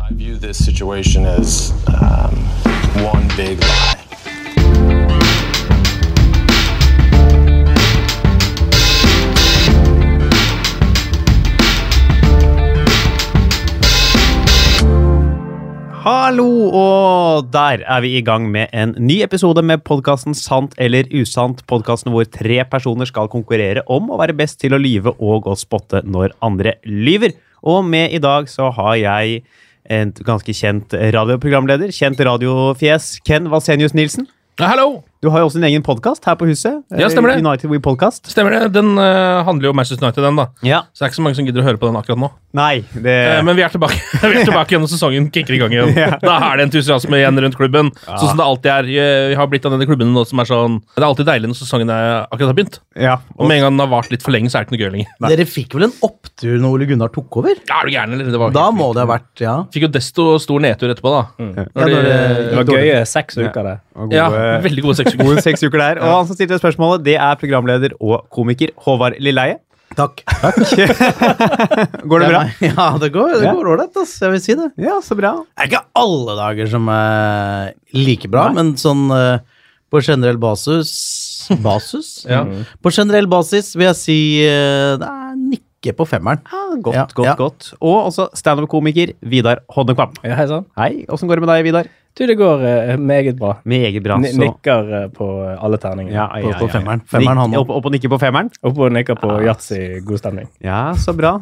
I view this situation as um, one big lie. Hallo, og der er vi i gang med en ny episode med podkasten Sant eller usant. Podkasten hvor tre personer skal konkurrere om å være best til å lyve og å spotte når andre lyver. Og med i dag så har jeg en ganske kjent radioprogramleder, kjent radiofjes, Ken Vasenius Nilsen. Ja, Hallo! Du har jo også en egen podkast her på huset. Ja, stemmer det. United We Podcast. Stemmer det? Den eh, handler jo om Manchester United, den, da. Ja. Så det er ikke så mange som gidder å høre på den akkurat nå. Nei, det Eh, men vi er tilbake Vi er tilbake igjen når sesongen kicker i gang igjen. Ja. Da er det entusiasme igjen rundt klubben. Sånn som det alltid er. Eh, Vi har blitt av denne klubben nå som er sånn Det er alltid deilig når sesongen er, akkurat har begynt. ja. Og med en gang den har vart litt for lenge, så er det ikke noe gøy lenger. Dere fikk vel en opptur når Ole Gunnar tok over? Ja, Er du gæren, eller? Det var Da helt må vilt. det ha vært ja. Fikk jo desto stor nedtur etterpå, da. Mm. Ja, Når når de, det- Det var gøye seks uker, det. og ja, eh, gode- veldig gode seks uker. Gode seks uker der. Og han som stilte spørsmålet, det er programleder og komiker Håvard Lilleheie. Takk. Går det bra? Ja, det går det Ja. går ålreit, ass. Jeg vil si det. Ja, så bra. Det er ikke alle dager som er like bra, men sånn eh, på generell basis Basis? Ja. På generell basis vil jeg si eh, det er nikke på femmeren. Ja, godt, Ja, godt, ja. godt. Og også standup-komiker Vidar Hodnekvam. Ja, hei sann. Hei, åssen går det med deg, Vidar? Du, det går eh, meget bra. Meget bra. Ni- så- Nikker eh, på alle terninger. Ja, ja, ja, på ja. femmeren. Femmeren, han Nikk- nå. opp, opp og nikke på femmeren? Oppe og nikker på yatzy, god stemning. Ja, så bra.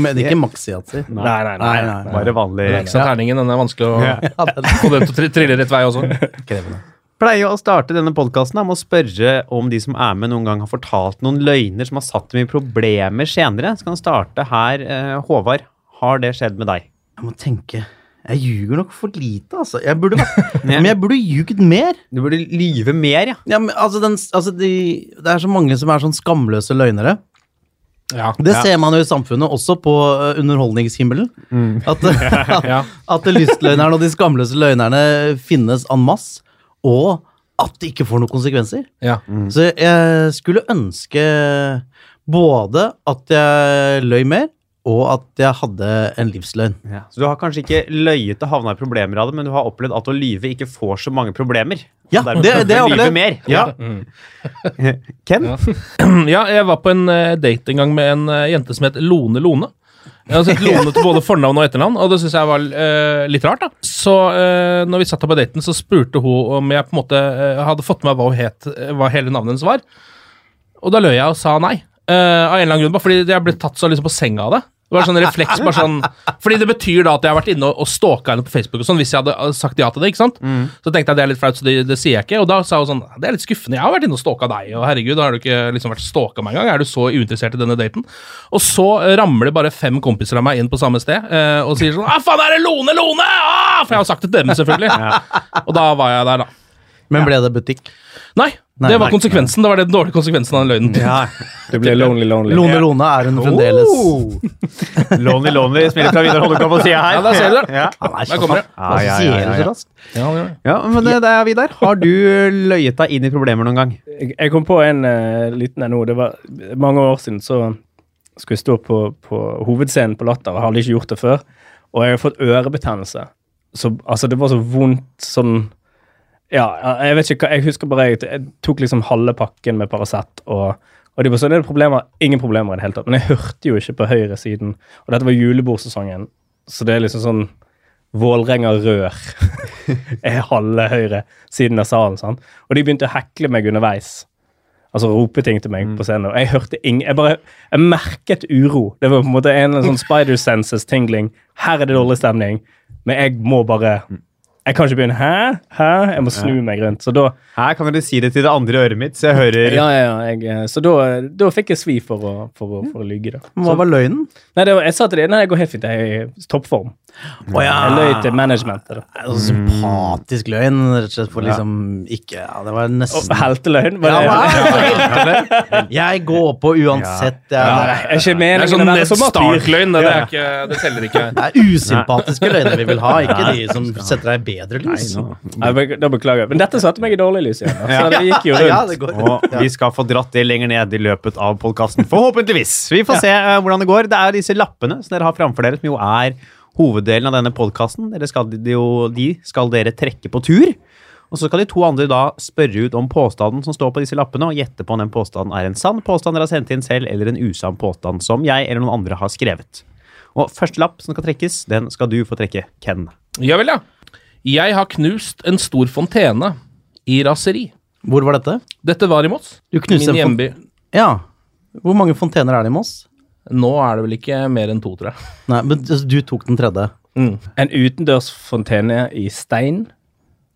Men ikke maxi-yatzy. Nei, nei, nei. Nei, nei. Bare vanlig. Ikke sant, terningen? Den er vanskelig å Ja. Ja, det er få den til å tri- trille rett vei også. krevende. Pleier å starte denne podkasten med å spørre om de som er med, noen gang har fortalt noen løgner som har satt dem i problemer senere. Så kan vi starte her. eh, Håvard, har det skjedd med deg? Jeg må tenke. Jeg ljuger nok for lite, altså. Jeg burde, vært- men jeg burde ljugd mer. Du burde lyve mer, ja. Ja, men altså, den, altså de, Det er så mange som er sånn skamløse løgnere. Ja. Det ser man jo i samfunnet, også på eh, underholdningshimmelen. At, at, Mm. Ja. at lystløgnerne og de skamløse løgnerne finnes en masse, og at det ikke får noen konsekvenser. Ja. Så jeg skulle ønske både at jeg løy mer, og at jeg hadde en livsløgn. Ja. Så du har kanskje ikke løyet og havna i problemer av det, men du har opplevd at å lyve ikke får så mange problemer. Ja, Og dermed det- kan det du har jeg lyve opplevd. mer. Ja. Mm. Ken? Ja, jeg var på en eh, date en gang med en eh, jente som het Lone Lone. Jeg har sett Lone til både fornavn og etternavn, og det syns jeg var eh, litt rart. da. Så eh, når vi satt her på daten, så spurte hun om jeg på en måte eh, hadde fått med meg hva, hun het, eh, hva hele navnet hennes var. Og da løy jeg og sa nei. Eh, av en eller annen grunn, bare fordi jeg ble tatt så liksom på senga av det. Det var en sånn refleks, bare sånn, Fordi det betyr da at jeg har vært inne og, og stalka henne på Facebook og sånn, hvis jeg hadde eh, sagt ja til det. ikke sant? Mm. Så tenkte jeg det er litt flaut, så det, det sier jeg ikke. Og da sa hun sånn Det er litt skuffende, jeg har vært inne og stalka deg, og herregud, har du ikke liksom vært stalka meg engang? Er du så uinteressert i denne daten? Og så eh, ramler det bare fem kompiser av meg inn på samme sted eh, og sier sånn Å, faen, er det Lone Lone? Ah! For jeg har sagt det til dem, selvfølgelig. Og da var jeg der, da. Men ble det butikk? Nei, Nei, det var nei. konsekvensen. Det var den dårlige konsekvensen av den løgnen. Du blir lonely, lonely. Lone Lone er hun fremdeles. Oh! Lonely, lonely smiler fra Vidar Holmenkamp på sida her. Ja, der ser du det. Ja. Han er Der så kommer det. Ja, ja, ja, ja, ja. Ja, det gjør det. Ja, men det, det er Vidar. Har du løyet deg inn i problemer noen gang? Jeg jeg kom på en eh, liten en nå. Det var mange år siden så skulle jeg stå på, på hovedscenen på Latter. og Jeg hadde ikke gjort det før. Og jeg har fått ørebetennelse. Så, altså, det var så vondt sånn Ja, jeg vet ikke hva Jeg husker bare jeg, jeg tok liksom halve pakken med Paracet, og, og de var sånn Er det problemer? Ingen problemer i det hele tatt. Men jeg hørte jo ikke på høyresiden. Og dette var julebordsesongen, så det er liksom sånn Vålerenga rør er halve høyre siden av salen. sant? Og de begynte å hekle meg underveis. Altså rope ting til meg på scenen. Og jeg hørte ingen Jeg bare jeg merket uro. Det var på en måte en eller annen sånn spider senses tingling. Her er det dårlig stemning. Men jeg må bare Jeg kan ikke begynne Hæ? Hæ? Jeg må snu meg rundt. Så da Her kan dere si det til det andre øret mitt, så jeg hører ja, ja, ja, jeg, eh, Så da, da fikk jeg svi for å, for å, for å lyge, da. Hva var løgnen? Nei, det var, jeg sa til dem nei, jeg går helt fint. Jeg er i toppform. Å ja. Jeg løy til managementet. da. En sånn sympatisk løgn, rett og slett for liksom ikke Ja, det var nesten Og Helteløgn. var Ja, det- hva? Jeg går på uansett. Nei, Jeg, jeg er ikke Det meningen er sånn å være Ned så martyr. Stark-løgn. Det, det, er ikke- det teller ikke. det er usympatiske løgner vi vil ha, ikke de som setter deg i bedre lys. Nei, bek- da beklager jeg. Men dette satte meg i dårlig lys igjen. da. Så det gikk jo Ja, rundt. det går. Og vi skal få dratt det lenger ned i løpet av podkasten. Forhåpentligvis. Vi får se eh, hvordan det går. Det er disse lappene som dere har framfor dere, som jo er hoveddelen av denne podkasten. Dere skal de jo- de skal dere trekke på tur. Og så skal de to andre da spørre ut om påstanden som står på disse lappene, og gjette på om den påstanden er en sann påstand dere har sendt inn selv, eller en usann påstand som jeg eller noen andre har skrevet. Og første lapp som skal trekkes, den skal du få trekke, Ken. Ja vel, ja. Jeg har knust en stor fontene i raseri. Hvor var dette? Dette var i Moss. Du Min knuste en fon- hjemby. Ja. Hvor mange fontener er det i Moss? Nå er det vel ikke mer enn to, tror jeg. Nei, men altså, du tok den tredje. En utendørs fontene i stein.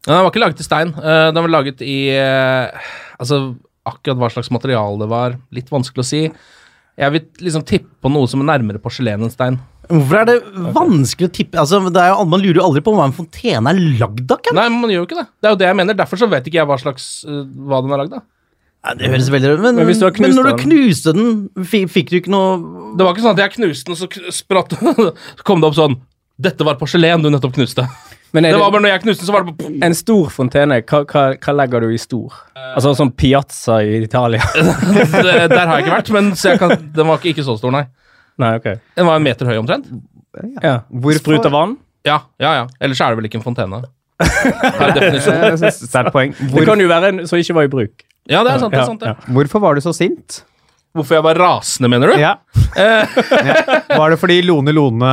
Men den var ikke laget i stein. Eh, Den var laget i eh, Altså, akkurat hva slags materiale det var, litt vanskelig å si. Jeg vil liksom tippe på noe som er nærmere porselen enn stein. Hvorfor er det vanskelig å tippe? Altså, det er jo, man lurer jo aldri på hva en fontene er lagd av. Ken. Nei, men man gjør jo ikke det. Det er jo det jeg mener. Derfor så vet ikke jeg hva slags eh, Hva den er lagd av. Nei, det høres veldig rart ut, men, Men hvis du har men når du knust knuste den, fi- fikk du ikke noe Det var ikke sånn at jeg knuste den, og så k- spratt Så kom det opp sånn Dette var porselen du nettopp knuste. Men er Det det, var bare når jeg knuste, den, så var det bare en stor fontene, hva, hva, hva legger du i stor? Altså sånn piazza i Italia? Det- Der har jeg ikke vært, men så jeg kan, den var ikke, ikke så stor, nei. Nei, ok. Den var en meter høy omtrent. Ja. Hvorfor- Sprut av vann? Ja, ja, ja. Ellers er det vel ikke en fontene. Per definisjon. Sterkt poeng. Eh, Det kan jo være en som ikke var i bruk. Ja, det er sant. det Ja, er sant det. ja. hvorfor var du så sint? Hvorfor jeg var rasende, mener du? Ja. Eh. Var det fordi Lone Lone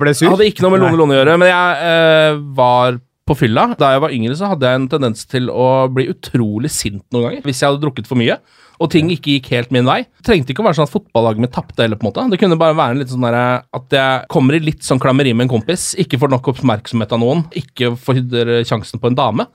ble sur? Jeg hadde ikke noe med Lone Lone å gjøre, men jeg eh, var på fylla. Da jeg var yngre, så hadde jeg en tendens til å bli utrolig sint noen ganger. Hvis jeg hadde drukket for mye, og ting ikke gikk helt min vei. Trengte ikke å være sånn at fotballaget mitt tapte heller, på en måte. Det kunne bare være en litt sånn derre at jeg kommer i litt sånn klammeri med en kompis, ikke får nok oppmerksomhet av noen, ikke får eh, sjansen på en dame.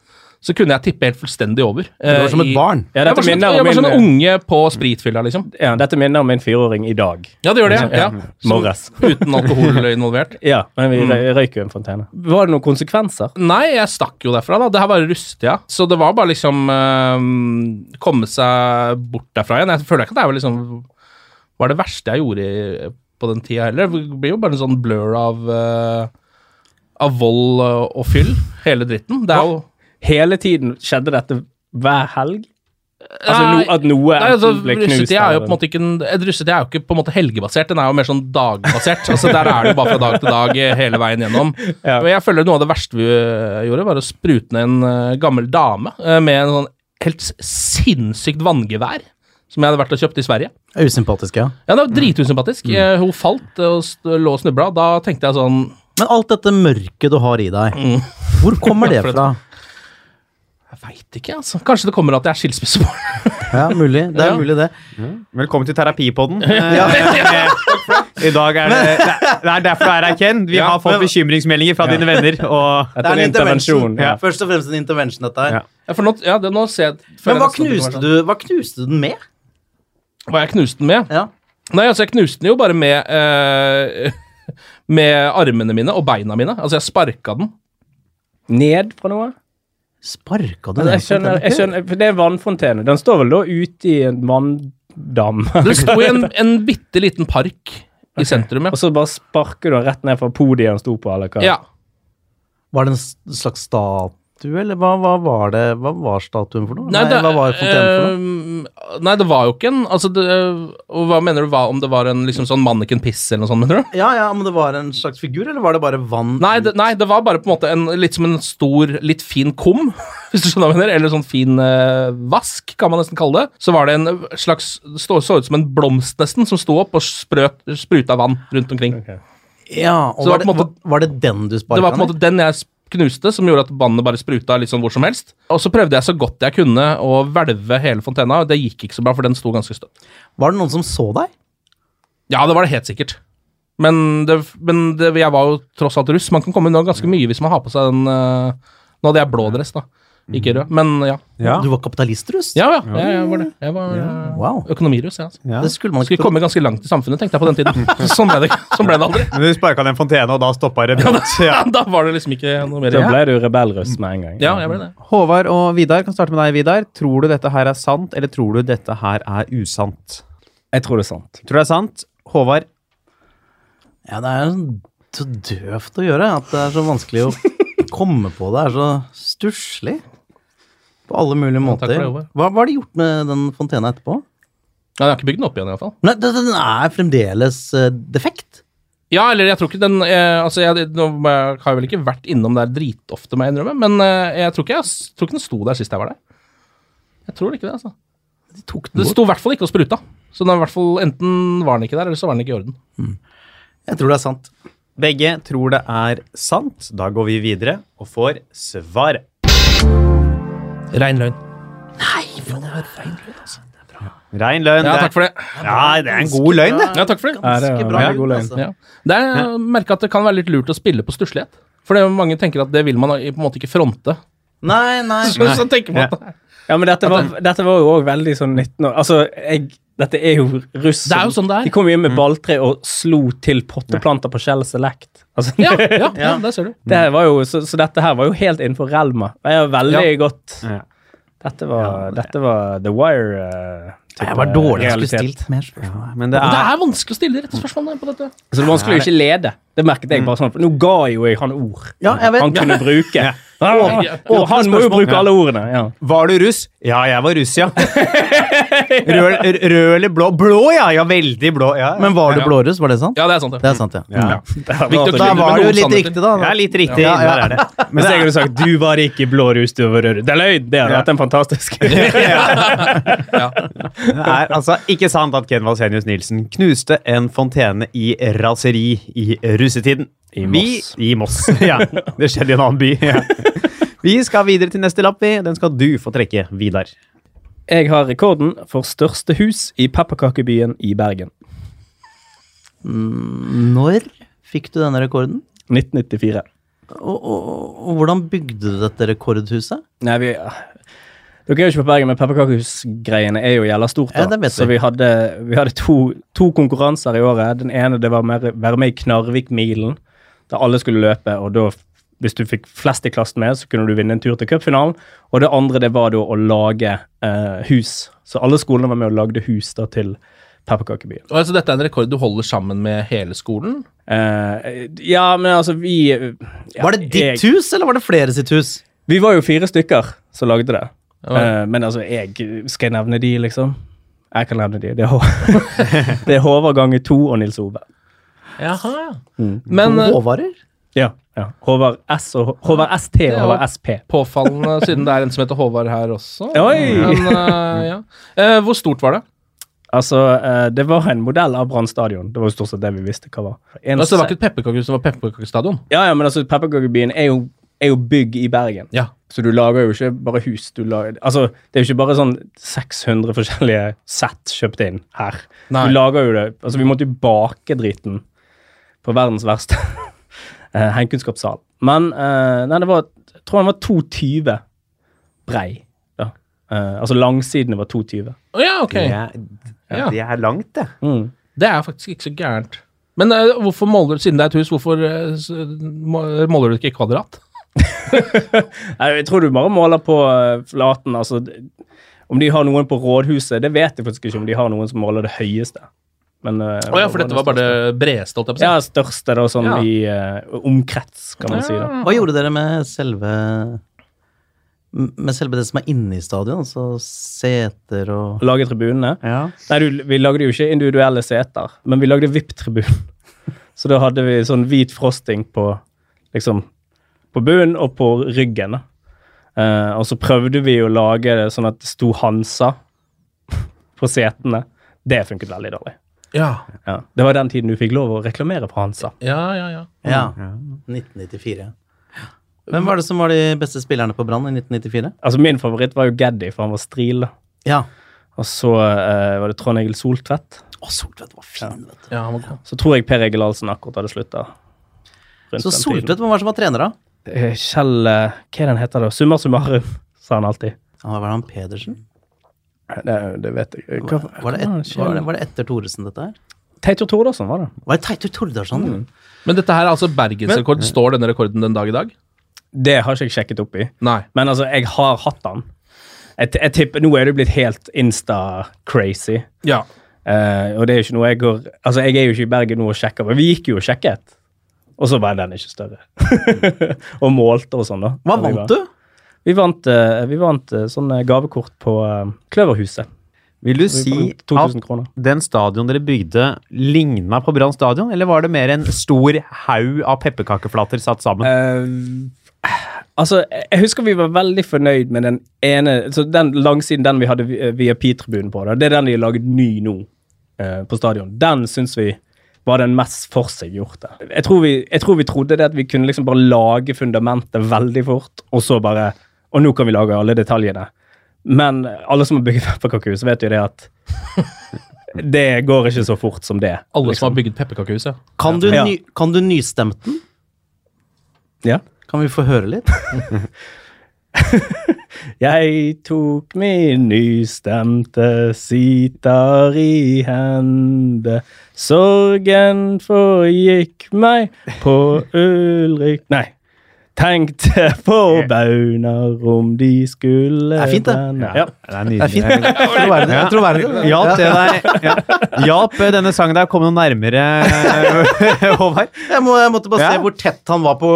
Så kunne jeg tippe helt fullstendig over. Eh, Det var som et barn. Ja, Jeg dette var, sånn, minner jeg om var sånn min, unge på spritfylla, liksom. ja, dette minner om min fireåring i dag. Ja, det gjør det. ja. ja. Morges. Som, uten alkohol involvert. Ja, Mm. men vi røy- røyk jo en fontene. Var det noen konsekvenser? Nei, jeg stakk jo derfra, da. Det her var Rustia. Så det var bare liksom eh, komme seg bort derfra igjen. Jeg føler ikke at det var liksom var det verste jeg gjorde i, på den tida heller. Det blir jo bare en sånn blur av eh, av vold og og fyll, hele dritten. Det er jo Hele tiden skjedde dette hver helg? Altså Nei, no, at noe Nei, altså, enten ble knust russetida er jo eller- på en måte ikke en, et russetid er jo ikke på en måte helgebasert, den er jo mer sånn dagbasert. altså Der er det jo bare fra dag til dag eh, hele veien gjennom. Ja. Men jeg føler noe av det verste vi eh, gjorde, var å sprute ned en eh, gammel dame eh, med en sånn helt s- sinnssykt vanngevær. Som jeg hadde vært og kjøpt i Sverige. Usympatisk, ja. Ja, Det Mm. var dritusympatisk. Eh, Hun falt eh, og st lå og snubla. Da tenkte jeg sånn Men alt dette mørket du har i deg, hvor kommer det Mm. For det- fra? Jeg veit ikke, altså. Kanskje det kommer at jeg er skilsmissebarn. Ja, mulig. Det er Ja. mulig, det. Velkommen til terapipodden. Eh, I dag er det Det er derfor du er her, Ken. Vi Ja, har fått men- bekymringsmeldinger fra dine venner. Og Etter en intervensjon. Ja. Først og fremst en intervention, dette her. Ja. Ja, for nå, ja, det, nå ser jeg, Men føler hva jeg nesten at det kommer knuste, du, hva knuste du den med? sånn. Hva jeg knuste den med? Ja. Nei, altså jeg knuste den jo bare med eh, Med armene mine og beina mine. Altså jeg sparka den. Ned fra noe? Sparka du Altså, jeg skjønner, jeg skjønner, for det er vannfontene. Den står vel da ute i en vanndam, Den sto i en, en bitte liten park i sentrum, ja. og så bare sparker du den rett ned fra podiet den sto på, eller hva? ja. Var det en s- slags statue, eller hva, hva var det? Hva var statuen for noe? Nei, det- hva var fontenen for noe? eh, Nei, det var jo ikke en altså det, og Hva mener du hva, om det var en liksom sånn mannekenpiss eller noe sånt, mener du? Ja, ja, men det var en slags figur, eller var det bare vann? Nei det, nei, det var bare på en måte en, litt som en stor, litt fin kum, hvis du skjønner hva jeg mener. Eller sånn fin eh, vask, kan man nesten kalle det. Så var det en slags Så, så ut som en blomst, nesten, som sto opp og sprøt, spruta vann rundt omkring. Ja, og Så var, det det, var på en var- var det den du Det sparka var på en måte den jeg s- knuste, som gjorde at vannet bare spruta litt sånn hvor som helst. Og så prøvde jeg så godt jeg kunne å hvelve hele fontena. og Det gikk ikke så bra, for den sto ganske støtt. Var det noen som så deg? Ja, det var det helt sikkert. Men, det, men det, jeg var jo tross alt russ. Man kan komme unna ganske mye hvis man har på seg den eh, Nå hadde jeg blå dress, da. Ikke rød. Men ja. Ja. Du var kapitalistrus? Ja, ja. Jeg, jeg var det. Jeg var eh, Wow. økonomiruss, jeg. Altså. Ja. Det skulle man ikke Skulle tro. komme ganske langt i samfunnet, tenkte jeg på den tiden. Sånn ble det, sånn ble det aldri. Men du sparka den fontene, og da stoppa det brått. Ja. Da var det liksom ikke noe mer Da igjen. ble du rebellrøst med en gang. Ja, jeg ble det. Håvard og Vidar, kan starte med deg, Vidar. Tror du dette her er sant, eller tror du dette her er usant? Jeg tror det er sant. Tror du det er sant? Håvard, Ja, det er sånn så døvt å gjøre at det er så vanskelig å komme på. Det er så stusslig. På alle mulige takk måter. for det, Håvard. Hva, hva har de gjort med den fontena etterpå? Ja, jeg har ikke bygd den opp igjen, iallfall. Nei, den den er fremdeles eh, defekt. Ja, eller jeg tror ikke den eh, Altså, jeg, nå må jeg- har jeg vel ikke vært innom der dritofte, må jeg innrømme, men eh, jeg tror ikke, jeg s- tror ikke den sto der sist jeg var der. Jeg tror ikke det, altså. Det sto i hvert fall ikke og spruta. Så den er i hvert fall, enten var den ikke der, eller så var den ikke i orden. Jeg tror det er sant. Begge tror det er sant. Da går vi videre og får svaret. Rein løgn. Rein løgn. Ja, det er- takk for det. Ja, det er en god løgn, det. Ja, takk for det. Ja, det er Ganske en bra veldig lyd, god løgn. altså. Ja. Det er, jeg merker at det kan være litt lurt å spille på stusslighet. For det, er jo mange tenker at det vil man i- på en måte ikke fronte. Nei, nei. Så, så tenker man at Ja, men dette var, dette var jo òg veldig sånn 19 år Altså, jeg, dette er jo russ. Det er jo sånn det er. De kom jo inn med balltre og slo til potteplanter på Shell Select. Altså, ja, ja, ja, der ser du. det her var jo, så, så dette her var jo helt innenfor relma. Det er veldig godt Ja. dette var, dette var The Wire. eh, type Jeg var dårlig. Jeg skulle realitet. stilt mer spørsmål. Men det Men det er er vanskelig å stille de rette spørsmålene på dette. Så det var vanskelig å ikke lede. Det merket jeg bare sånn. For nå ga jo jeg han ord Ja, jeg vet. han kunne bruke. Ah, Og, og han må jo bruke alle ordene. Ja. Var du russ? Ja, jeg var russ, ja. Rød, r- rød eller blå? Blå, ja! Ja, veldig blå. Ja, ja. Men var du blåruss? Var det sant? Ja, det er sant. Det er sant, ja. Ja. Viktig å Da kjenne med var det jo noen litt sannheter. riktig, da. Det er litt riktig. Ja, ja. Der er det. Mens jeg hadde sagt 'du var ikke blå rus, du var rød'. Det er løgn! Det hadde Ja. vært en fantastisk Det Det er altså ikke sant at Ken Valsenius Nilsen knuste en fontene i raseri i russetiden. I Moss. Vi, I Moss, ja. Det skjedde i en annen by. Ja. Vi skal videre til neste lapp. vi. Den skal du få trekke, Vidar. Jeg har rekorden for største hus i pepperkakebyen i Bergen. Når fikk du denne rekorden? 1994. Og, og, og hvordan bygde du dette rekordhuset? Nei, vi ah. Dere er jo ikke på Bergen, men pepperkakehusgreiene er jo jævla stort. da. Ja, det vet så vi. vi hadde, vi hadde to, to konkurranser i året. Den ene det var mer, være med i Knarvikmilen, der alle skulle løpe. og da, Hvis du fikk flest i klassen med, så kunne du vinne en tur til cupfinalen. Og det andre det var da å lage eh, hus. Så alle skolene var med og lagde hus da til pepperkakebyen. Og altså, dette er en rekord du holder sammen med hele skolen. Eh, ja, men altså, vi ja, Var det ditt jeg- hus, eller var det flere sitt hus? Vi var jo fire stykker som lagde det. Ja. Eh, men altså, jeg skal jeg nevne de, liksom? Jeg kan nevne de. Det er, Hå- det er Håvard ganger to og Nils Ove. Jaha. Men eh, Håvarer? Ja. ja. Håvard S og Hå- Håvard ST og Håvard SP. påfallende, siden det er en som heter Håvard her også. Oi! Men, eh, ja. Eh, hvor stort var det? Altså, eh, det var en modell av Brann stadion. Det var jo stort sett det vi visste hva var. En Altså, det var se- ikke et pepperkakehus, det var pepperkakestadion. Ja, ja, men altså, Pepperkakebyen er jo, er jo bygg i Bergen. Ja. Så du lager jo ikke bare hus. Du lager, altså, det er jo ikke bare sånn 600 forskjellige sett kjøpt inn her. Nei. Du lager jo det. Altså, vi måtte jo bake driten på verdens verste eh, heimkunnskapssal. Men eh, nei, det var, jeg tror den var 2,20 brei. Ja. Eh, altså langsidene var 2,20. Å ja, ok. Det er, Ja. det er langt, det. Mm. Det er faktisk ikke så gærent. Men eh, hvorfor måler, siden det er et hus, hvorfor eh, s- må- måler du ikke i kvadrat? Nei, Jeg tror du bare måler på eh, flaten. altså d- Om de har noen på rådhuset, det vet jeg faktisk ikke om de har noen som måler det høyeste. Men, eh, Å ja, for dette var bare det bredeste, holdt jeg på å si. Ja, største da, sånn Ja. i eh, omkrets, kan man si. da. Hva gjorde dere med selve Med selve det som er inne i stadion? Altså seter og Lage tribunene. Ja. Nei, du, vi lagde jo ikke individuelle seter, men vi lagde VIP-tribun. Så da hadde vi sånn hvit frosting på liksom, på bunnen og på ryggen. da. Eh, og så prøvde vi å lage det sånn at det sto Hansa på setene. Det funket veldig dårlig. Ja, Ja. Det var den tiden du fikk lov å reklamere for Hansa. ja, ja. ja. ja. 1994. Hvem var det som var de beste spillerne på Brann i 1994? Altså Min favoritt var jo Gaddy, for han var stril. da. Ja. Og så eh, var det Trond Egil Soltvedt. Å, Soltvedt var fin, vet du. ja han var god. Så tror jeg Per Egil Ahlsen akkurat hadde slutta. rundt Så den Soltvedt, tiden. hvem var det som var trener, da? Eh, Kjell eh, Hva er den heter da? Summa summarum, sa han alltid. Ja, Var det han Pedersen? Det, vet jeg Var det, et, var, det, var det etter Thoresen, dette her? Teitur Thordarsen var det. Var det Teitur Tordarsson? Mm. Men dette her er altså bergensrekord. Står denne rekorden den dag i dag? Det har ikke jeg sjekket opp i. Nei. Men altså, jeg har hatt den. Jeg, t- jeg tipper, Nå er du blitt helt insta-crazy. Ja. Eh, og det er jo ikke noe jeg går Altså, jeg er jo ikke i Bergen nå og sjekker, men vi gikk jo og sjekket. Og så var den ikke større. og målte og sånn, da. Hva Og vi vant var- du? sånn, Vi vant, eh, vi vant eh, sånne gavekort på eh, Kløverhuset. Vil du si 2000 at kroner. den stadion dere bygde, ligna på Brann stadion, eller var det mer en stor haug av pepperkakeflater satt sammen? Eh, altså, jeg- jeg husker vi var veldig fornøyd med den ene så Den langsiden den vi hadde vi- eh, VIP-tribunen på. Da. Det er den de har laget ny nå eh, på stadion. Den syns vi var den mest forseggjorte. Jeg tror vi, jeg tror vi trodde det at vi kunne liksom bare lage fundamentet veldig fort, og så bare Og nå kan vi lage alle detaljene. Men alle som har bygget pepperkakehus, vet jo det at det går ikke så fort som det. Alle som har bygget pepperkakehuset. Kan du, Ja. ny, kan du nystemt den? Ja. Kan vi få høre litt? Jeg tok min nystemte sitar i hende. Sorgen forgikk meg på Ulrik Nei. Tenkte på bauner om de skulle Det er fint, det. vende. Ja. det er nydelig. Jeg tror verden det. Hjalp det deg ja. Hjalp eh, denne sangen deg å komme noe nærmere, Håvard? Jeg, må, jeg måtte bare Ja. se hvor tett han var på,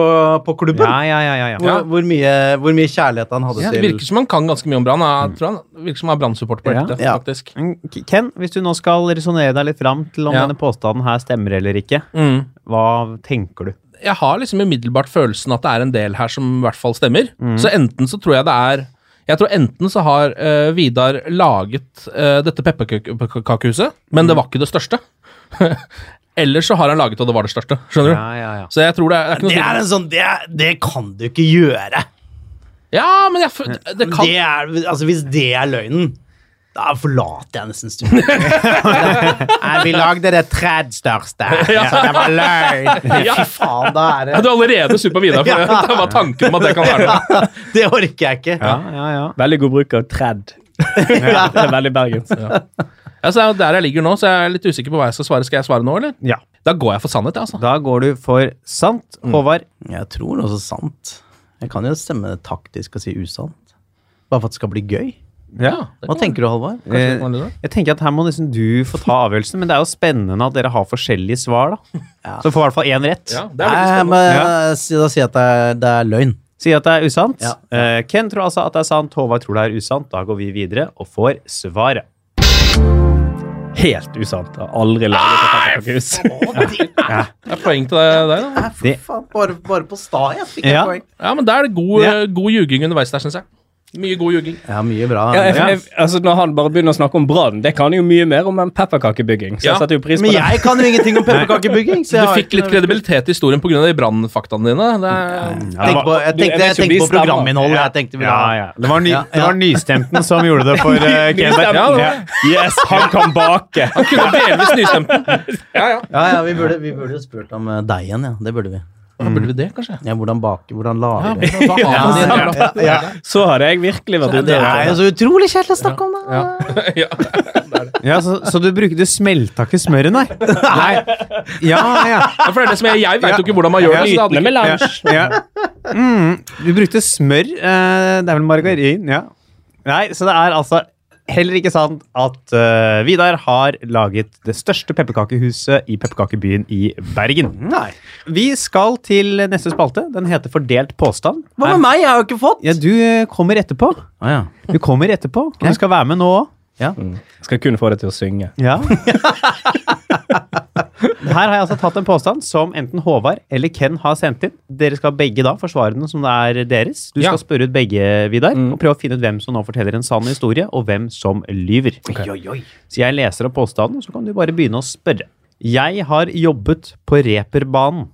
på klubben. Ja, ja, ja. ja, ja. Hvor, hvor, mye, hvor mye kjærlighet han hadde Ja, det til virker som han kan ganske mye om Brann. Jeg tror han virker som han er Brann-supporter på Ja. ekte, Ja. faktisk. Men Mm, K- Ken, hvis du nå skal resonnere deg litt fram til om Ja. denne påstanden her stemmer eller ikke, Mm. hva tenker du? Jeg har liksom umiddelbart følelsen at det er en del her som i hvert fall stemmer. Så enten så tror jeg det er Jeg tror enten så har eh, Vidar laget eh, dette pepperkakehuset, men det var ikke det største. Eller så har han laget og det var det største. Skjønner du? Ja, ja, ja. Så jeg tror det er, det er ikke noe Det tvil. er en sånn Det, det kan du ikke gjøre! Ja, men jeg, f- det kan Det er, altså, hvis det er løgnen, da forlater jeg nesten studiet. vi lagde det tredje største. det var løgn! Fy faen, da er Ja, det Du er allerede suppa Vidar for det. Det var tanken om at det kan være det. Det orker jeg ikke. Ja, ja, ja. Veldig god bruk av tredd. Det er veldig bergensk. Ja, så det er jo der jeg ligger nå, så jeg er litt usikker på hva jeg skal svare. Skal jeg svare nå, eller? Ja. Da går jeg for sannhet, jeg, altså. Da går du for sant, Håvard. Jeg tror noe så sant. Jeg kan jo stemme taktisk og si usant. Bare for at det skal bli gøy. det Hva kan- tenker du, Halvard? kanskje det Eh, kan være litt rart. jeg tenker at Her må nesten du få ta avgjørelsen, men det er jo spennende at dere har forskjellige svar. da. Så får i hvert fall én rett. Ja, det er veldig Nei, spennende. men eh, si- Da sier jeg at det er, det er løgn. Si at det er usant. Ja. Eh, Ken tror altså at det er sant, Håvard tror det er usant. Da går vi videre og får svaret. Helt usant. Jeg har aldri laget et pepperkakehus. Det er poeng til deg der, da. Det- Faen, bare, bare på sta jeg fikk Ja. jeg poeng. Ja, men det er det god, Ja. eh, god ljuging underveis der, syns jeg. Mye god ljuging. Ja, mye bra. Ja, jeg, jeg, altså når han bare begynner å snakke om Brann, det kan han jo mye mer om enn pepperkakebygging. Så Ja. jeg setter jo pris på Men det. jeg kan jo ingenting om pepperkakebygging. så Du jeg har fikk ikke litt noe- kredibilitet i historien pga. de brannfaktaene dine. Det er, Jeg tenkte på, jeg Du, jeg tenkte, vet jeg ikke om tenkte de på stemmer. programinnholdet. Jeg tenkte vi da. Ja, ja. Det var, ny, Ja, Det ja. var nystemten som gjorde det for eh, Ken. der. Ja, det var det. Yes, han kan bake! han kunne delvis nystemt den. Ja, ja. Ja, ja, vi burde, vi burde jo spurt om eh, deg igjen, ja. Det burde vi. Da burde vi det, kanskje. Ja, hvordan bake, hvordan lage. Ja, det. da har man det, jævla- Så hadde jeg virkelig vært Det ute er jo så utrolig kjedelig å snakke om, da. ja. Ja, så, så du bruker Du smelta ikke smøret, nei? nei. Ja, ja. Ja, For det er det som jeg, jeg veit jo ikke hvordan man gjør det. så det hadde Flytende ikke- melange. ja. Mm, du brukte smør. eh, det er vel margarin? Ja. Nei, så det er altså heller ikke sant at eh, Vidar har laget det største pepperkakehuset i pepperkakebyen i Bergen. Nei. Vi skal til neste spalte. Den heter Fordelt påstand. Hva med meg? Jeg har jo ikke fått. Ja, du eh, kommer etterpå. Å, ja. Du kommer etterpå. og Du skal være med nå òg. Skal kun få deg til å synge. Ja. Her har jeg altså tatt en påstand som enten Håvard eller Ken har sendt inn. Dere skal begge da forsvare den som det er deres. Du Ja. skal spørre ut begge, Vidar, og prøve å finne ut hvem som nå forteller en sann historie, og hvem som lyver. Så jeg leser opp påstanden, så kan du bare begynne å spørre. Jeg har jobbet på reperbanen.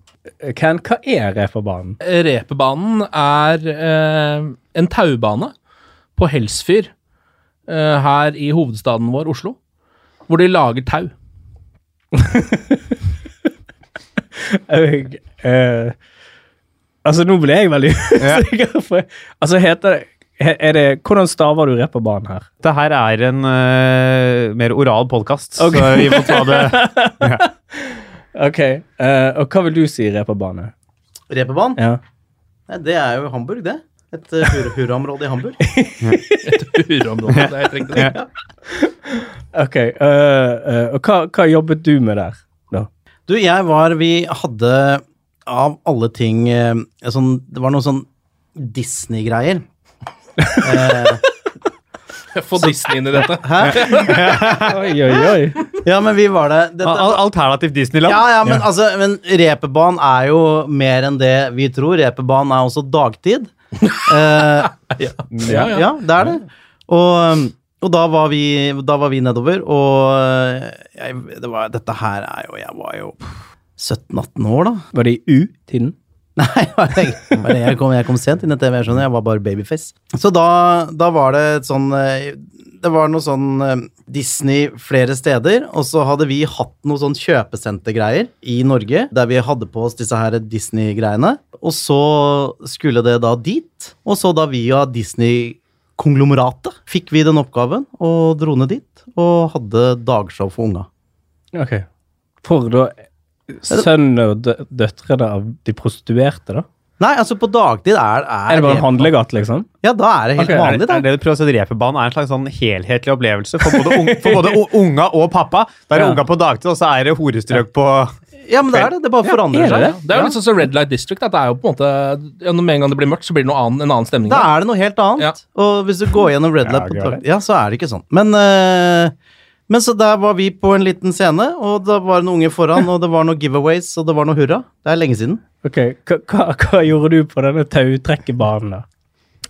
Ken, hva er referbanen? Repebanen er eh, en taubane på Helsfyr eh, her i hovedstaden vår, Oslo, hvor de lager tau. Jeg, eh, altså, nå ble jeg veldig usikker. for- altså, heter det, he- er det Hvordan staver du reperbanen her? Dette her er en eh, mer oral podkast, Ok. så vi må ta det Ok, eh, Og hva vil du si reperbane? Reperbanen? Ja. Nei, Det er jo Hamburg, det. Et eh, hur- hurraområde i Hamburg. Urområdet, jeg trengte det. Ok, eh, eh, Og hva, hva jobbet du med der? da? Du, jeg var Vi hadde av alle ting eh, sånn, Det var noen sånn Disney-greier. eh, Få Disney inn i dette. Oi, oi, oi. Ja, men vi var det. Dette, Ah, Al- al- Alternativ Disneyland. ja, ja, men, altså, men reperbanen er jo mer enn det vi tror. Reperbanen er også dagtid. Eh, Ja, ja. ja, det er det. Og, eh, og da, var vi, da var vi nedover, og eh, jeg, det var, dette her er jo Jeg var jo 17-18 år, da. Var det i U-tiden? Nei, hva jeg, hva jeg, kom, jeg kom sent inn i TV, jeg skjønner. Jeg var bare babyface. Så da, da var det et sånn eh, Det var noe sånn eh, Disney flere steder, og så hadde vi hatt noe sånn kjøpesentergreier i Norge, der vi hadde på oss disse her Disney-greiene. Og så skulle det da dit, og så da via Disney-konglomeratet fikk vi den oppgaven og dro ned dit og hadde dagshow for unga. Ok. For da sønner og dø- døtrene av de prostituerte, da? Nei, altså på dagtid er, er, Er det bare en handlegate, liksom? Ja, da er det helt Ok, er vanlig, Det da. er det du prøver å si, reperbanen er en slags sånn helhetlig opplevelse for både, un for både u- unga og pappa. Da er det Ja. unga på dagtid, og så er det horestrøk på Ja, men det er det. Det bare forandrer er det seg. det? Det er jo litt sånn som Red Light District. At det er jo på en måte, ja, når med en gang det blir mørkt, så blir det noe annen, en annen stemning. Da er det noe helt annet. Og hvis du går gjennom Red Lab, Ja, på greit. tak- ja, så er det ikke sånn. Men, eh, men så der var vi på en liten scene, og da var det noen unge foran, og det var noen giveaways, og det var noe hurra. Det er lenge siden. Ok, hva, hva, hva gjorde du på denne tautrekkebanen, da?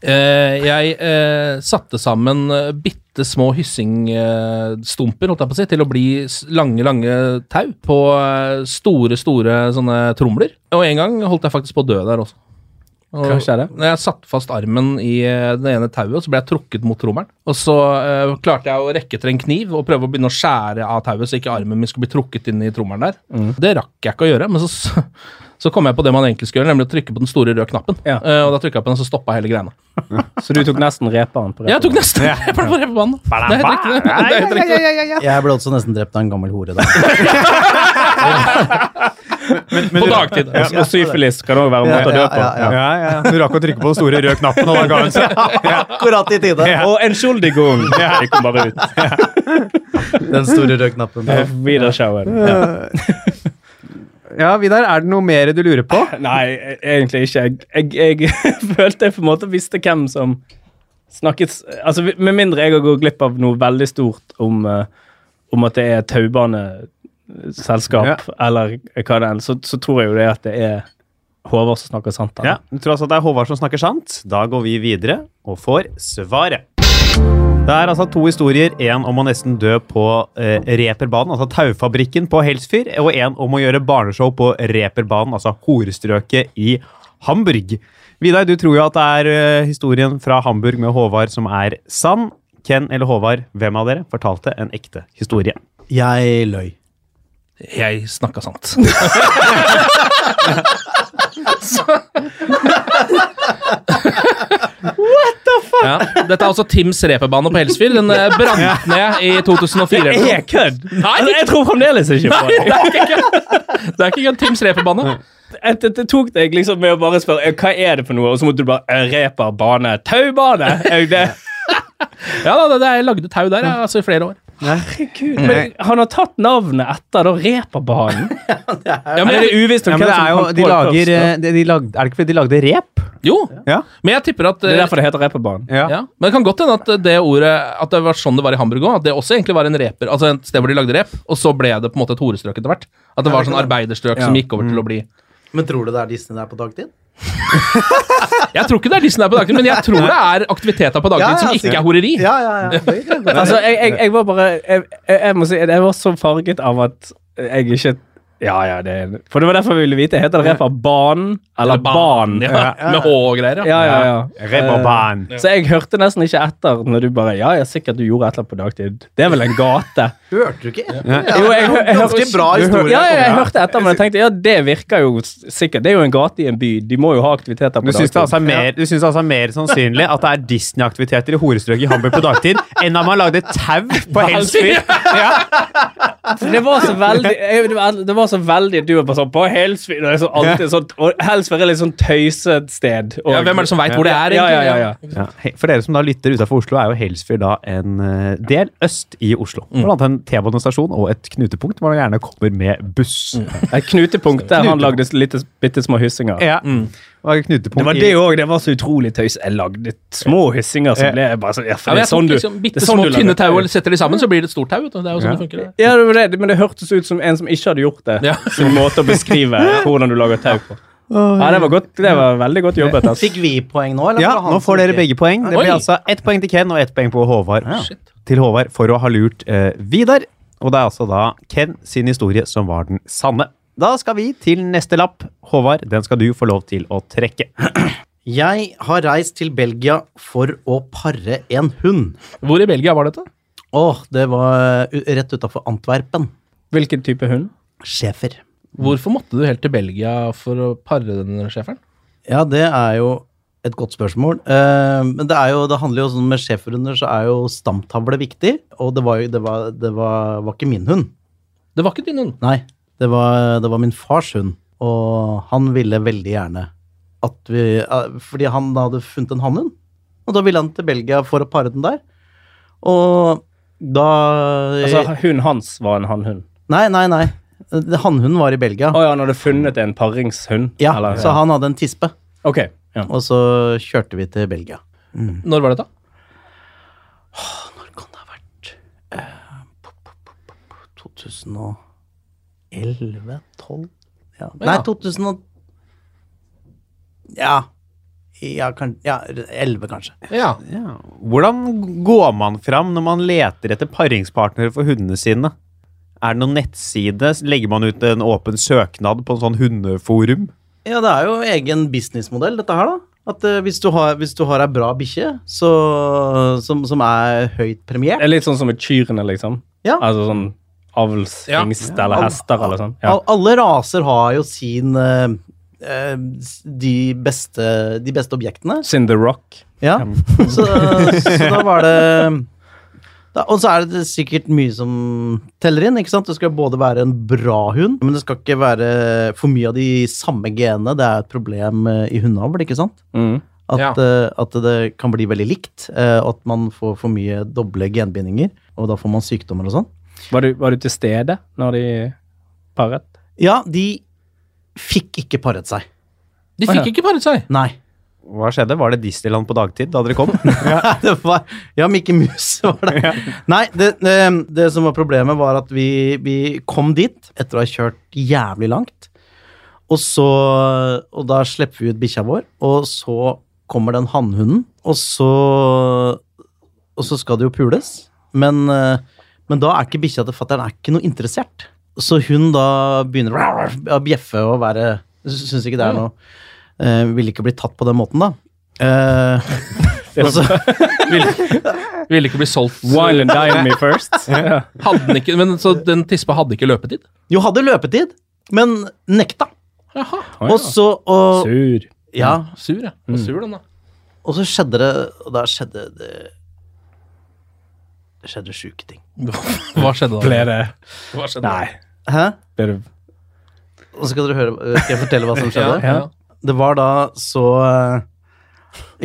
Eh, jeg eh, satte sammen eh, bitte små hyssingstumper, holdt jeg på å si, til å bli s- lange, lange tau på eh, store, store sånne tromler. Og en gang holdt jeg faktisk på å dø der også. Og Hva skjedde? når Jeg satte fast armen i eh, det ene tauet, og så ble jeg trukket mot trommelen. Og så eh, klarte jeg å rekke etter en kniv og prøve å begynne å skjære av tauet, så ikke armen min skulle bli trukket inn i trommelen der. Mm. Det rakk jeg ikke å gjøre, men så, s- så kom jeg på det man egentlig skulle gjøre, nemlig å trykke på den store røde knappen. Ja. Eh, og da trykka jeg på den, og så stoppa hele greiene. Så du tok nesten reperen på det? Jeg tok neste. Jeg ble bare på banen. Det er helt riktig. det. Det er helt riktig. det. Jeg ble også nesten drept av en gammel hore da. På dagtid. Altså, Og- Og syfilis kan òg være en måte å dø på. Ja. Ja, ja. Du rakk å trykke på den store røde knappen, og da ga hun seg. Akkurat i tide. Og en skjoldigon! Jeg kom bare ut. Den store røde knappen. Wiederschauen. Ja, Vidar, er det noe mer du lurer på? Nei, e- egentlig ikke. Jeg, jeg, jeg følte jeg på en måte visste hvem som snakket s- Altså, vi- Med mindre jeg går glipp av noe veldig stort om, eh, om at det er taubaneselskap, eller hva det enn, så, så tror jeg jo det at det er Håvard som snakker sant. Ja, du tror altså at det er Håvard som snakker sant? Da går vi videre og får svaret. Det er altså to historier. En om å nesten dø på eh, Reperbanen, altså Taufabrikken på Helsfyr, og en om å gjøre barneshow på Reperbanen, altså horestrøket i Hamburg. Vidar, du tror jo at det er eh, historien fra Hamburg med Håvard som er sann. Ken eller Håvard, hvem av dere fortalte en ekte historie? Jeg løy. Jeg snakka sant. What the fuck? Ja, dette er altså Tims reperbane på Helsfyr. Den eh, brant ned i 2004. Det er kødd! Nei, Altså, jeg tror fremdeles ikke på det. det er ikke kødd. Det er ikke kødd. Tims reperbane. Jeg- Det det tok deg liksom med å bare spørre eh, hva er det for noe, og så måtte du bare eh, reper bane. Taubane! Er jo det? Ja da, det- det er lagde tau der ja, altså, i flere år. Herregud, men han har tatt navnet etter da reperbanen. Ja, men, Er det uvisst om Ja, men hvem det er som jo, kom de på det lager, først, da? eh, de, de lag- er det ikke fordi de lagde rep? jo, Ja. men jeg tipper at Det er eh, derfor det heter reperbanen. Ja. Ja, Men det kan godt hende at det ordet At det var sånn det var i Hamburg òg. At det også egentlig var en reper Altså et sted hvor de lagde rep, og så ble det på en måte et horestrøk etter hvert. At det var sånn arbeiderstrøk som gikk over til å bli Men tror du det er Disney der på dagtid? Jeg tror ikke det er de som er på dagtid, men jeg tror det er aktiviteter på dagtid Ja, ja, som ikke er horeri. Ja, ja, ja. Det kan godt være. Altså, jeg, jeg, jeg var bare jeg, jeg, jeg må si, jeg var så farget av at jeg ikke Ja, ja, det er For det var derfor jeg ville vite. Heter det reperbanen eller banen? Ja, med H og greier. Ja, ja, ja. Reperbanen. Eh, Så jeg hørte nesten ikke etter når du bare Ja, ja, sikkert du gjorde et eller annet på dagtid. Det er vel en gate? Hørte du ikke etter? Jo, jeg, jeg, jeg, Ganske bra historie. Ja, ja, jeg hørte etter, men jeg tenkte ja, det virker jo s- sikkert. Det er jo en gate i en by. De må jo ha aktiviteter Du på syns det altså dagtid. er mer, du syns det altså er mer sannsynlig at det er Disney-aktiviteter i horestrøket i Hamburg på dagtid, enn at man lagde tau på Helsfyr? Ja. Det var så veldig jeg, det, var, det var så veldig Du var bare sånn På Helsfyr Det er så alltid sånn Og Helsfyr er litt sånn tøysested. Ja, hvem er det som veit hvor det er? Ja, ja, ja, ja. egentlig? Ja. he- For dere som da lytter utafor Oslo, er jo Helsfyr da en eh, del øst i Oslo. Blant annet en T-banestasjon og et knutepunkt hvor man gjerne kommer med buss. Et knutepunkt der han lagde litt bitte små hyssinger. Ja. var knutepunkt Det var i- det òg. Det var så utrolig tøys. Jeg lagde små hyssinger som ble bare sånn, ja, for E. Ja, men det er jeg tok sånn du liksom det er bitte sånn små, du lager- tynne tau og setter de sammen, så blir det et stort tau. vet du. Det er jo sånn det funker. det. Ja, det var det, men det hørtes ut som en som ikke hadde gjort det. Ja. Sin måte å beskrive hvordan du lager tau på. Ja, det var, godt, det var veldig godt jobbet. Altså. Fikk vi poeng nå, eller? Ja, var det han nå som får dere ikke- begge poeng. Det blir Oi. altså ett poeng til Ken og ett poeng på Håvard. Shit. Til Håvard for å ha lurt eh, Vidar. Og det er altså da Ken sin historie som var den sanne. Da skal vi til neste lapp. Håvard, den skal du få lov til å trekke. Jeg har reist til Belgia for å pare en hund. Hvor i Belgia var dette? Åh, det var eh, u- rett utafor Antwerpen. Hvilken type hund? Schæfer. Hvorfor måtte du helt til Belgia for å pare den schæferen? Ja, det er jo et godt spørsmål. Eh, men det, er jo, det handler jo sånn med schæferhunder så er jo stamtavle viktig. Og det var jo det var, det var, var ikke min hund. Det var ikke din hund. Nei, det var, det var min fars hund. Og han ville veldig gjerne at vi eh, Fordi han hadde funnet en hannhund. Og da ville han til Belgia for å pare den der. Og da Altså, Eh, Hunden hans var en hannhund. Nei, nei, nei. Det- Hannhunden var i Belgia. Å ja, han hadde funnet en paringshund? Ja, eller- så han hadde en tispe. Ok. Ja. Og så kjørte vi til Belgia. Når var dette? Når kan det ha vært Eh, po- po- po- po- po- 2011? 12? Ja. Nei, 2000 og Ja. Ja, kan, ja, 11 kanskje. Ja. Ja. Hvordan går man fram når man leter etter paringspartnere for hundene sine? Er det noen nettside? Legger man ut en åpen søknad på en sånn hundeforum? Ja, det er jo egen businessmodell dette her, da. At eh, hvis, du har, hvis du har ei bra bikkje så- som, som er høyt premiert Det er litt sånn som med kyrne, liksom. Ja. Altså sånn avlshingst Ja. eller hester eller sånn. Ja. Al- Alle raser har jo sin eh, eh, s- de, beste, de beste objektene. Sin The Rock. Ja, så, så da var det da, Og så er det sikkert mye som teller inn. ikke sant? Det skal både være en bra hund, men det skal ikke være for mye av de samme genene. Det er et problem eh, i hundeavl, ikke sant? Mm. At, Ja. eh, at det kan bli veldig likt, eh, og at man får for mye doble genbindinger. Og da får man sykdommer og sånn. Var, du, var du til stede når de paret? Ja, de fikk ikke paret seg. De Å, ja. fikk ikke paret seg. Nei. Hva skjedde? Var det Disneyland på dagtid da dere kom? det var, ja, Mikke Mus var det. Nei, det, det, det som var problemet, var at vi, vi kom dit etter å ha kjørt jævlig langt. Og, så, og da slipper vi ut bikkja vår, og så kommer den hannhunden. Og så, og så skal det jo pules, men, eh, men da er ikke bikkja til fatter'n er ikke noe interessert. Så hun da begynner å bjeffe og være Syns ikke det er noe eh, Ville ikke bli tatt på den måten, da. Eh, og så, Ville ikke bli solgt. Wine and dine me first. ja. Hadde den ikke, men så den tispa hadde ikke løpetid? Jo, hadde løpetid, men nekta. Jaha. Å, ja. Og så og, Sur. ja, Sur, ja. Mm. Den var Sur, den, da. og så skjedde det Og da skjedde det Det skjedde sjuke ting. Hva skjedde da? Ble det Hva skjedde da? Nei. Hæ? Ble det Og så skal dere høre øh, Skal jeg fortelle hva som skjedde? Ja, ja. Det var da så eh,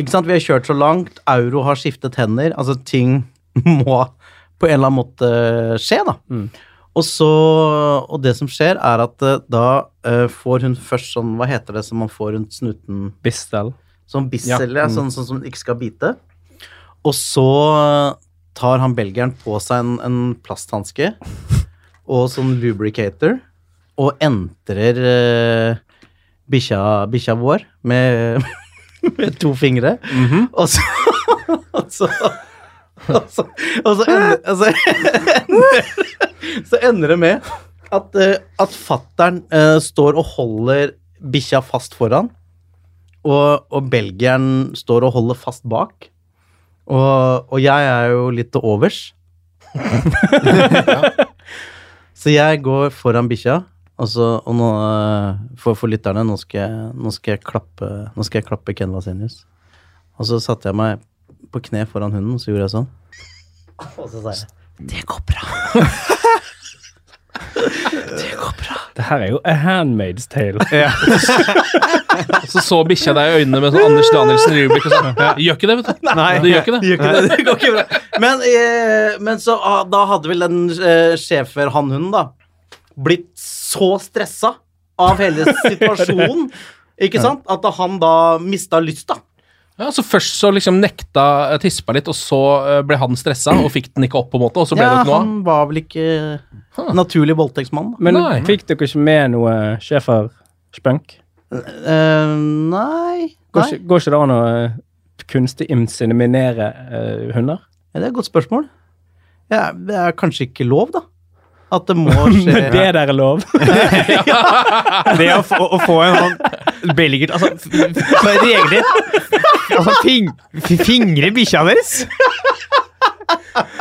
Ikke sant, vi har kjørt så langt, euro har skiftet hender, altså ting må på en eller annen måte skje, da. Mm. Og så Og det som skjer, er at eh, da eh, får hun først sånn Hva heter det som man får rundt snuten? Bistel? Sånn bissel, ja. sånn, sånn som du ikke skal bite. Og så tar han belgieren på seg en, en plasthanske og sånn lubricator og entrer eh, bikkja, bikkja vår med, med to fingre. Og så Og så og så, og så, ender, og så, ender, så ender det med at, eh, at fattern eh, står og holder bikkja fast foran. Og, og belgieren står og holder fast bak. Og, og jeg er jo litt til overs. så jeg går foran bikkja, og, så, og nå, eh, for, for lytterne nå skal, jeg, nå skal jeg klappe Nå skal jeg klappe Ken Vasenius. Og så satte jeg meg på kne foran hunden, og så gjorde jeg sånn. Og så sa jeg Det går bra. Det her er jo A Handmaid's Tale. Så så bikkja deg i øynene med sånn Anders Danielsen-øyeblikk. og sånn. Gjør ikke det, vet du. Nei. det gjør ikke det. Det går ikke bra. Men, eh, men så ah, da hadde vel den eh, schæferhannhunden da blitt så stressa av hele situasjonen Ikke sant? At da han da mista lysta. Ja, så Først så liksom nekta eh, tispa litt, og så eh, ble han stressa og fikk den ikke opp, på en måte, og så ble Ja, det ikke noe av. han var vel ikke naturlig voldtektsmann, da. Men Nei. fikk dere ikke med noe schæfer-spunk? Eh, nei Nei, Går, ikke- går ikke det an å eh, kunstig inseminere eh, hunder? Ja, det er et godt spørsmål. Ja, det er kanskje ikke lov, da. At det må skje Men det der er lov! Det å få, å få en sånn belgier Altså, f- f- for regler Altså, fing, f- fingre bikkja deres?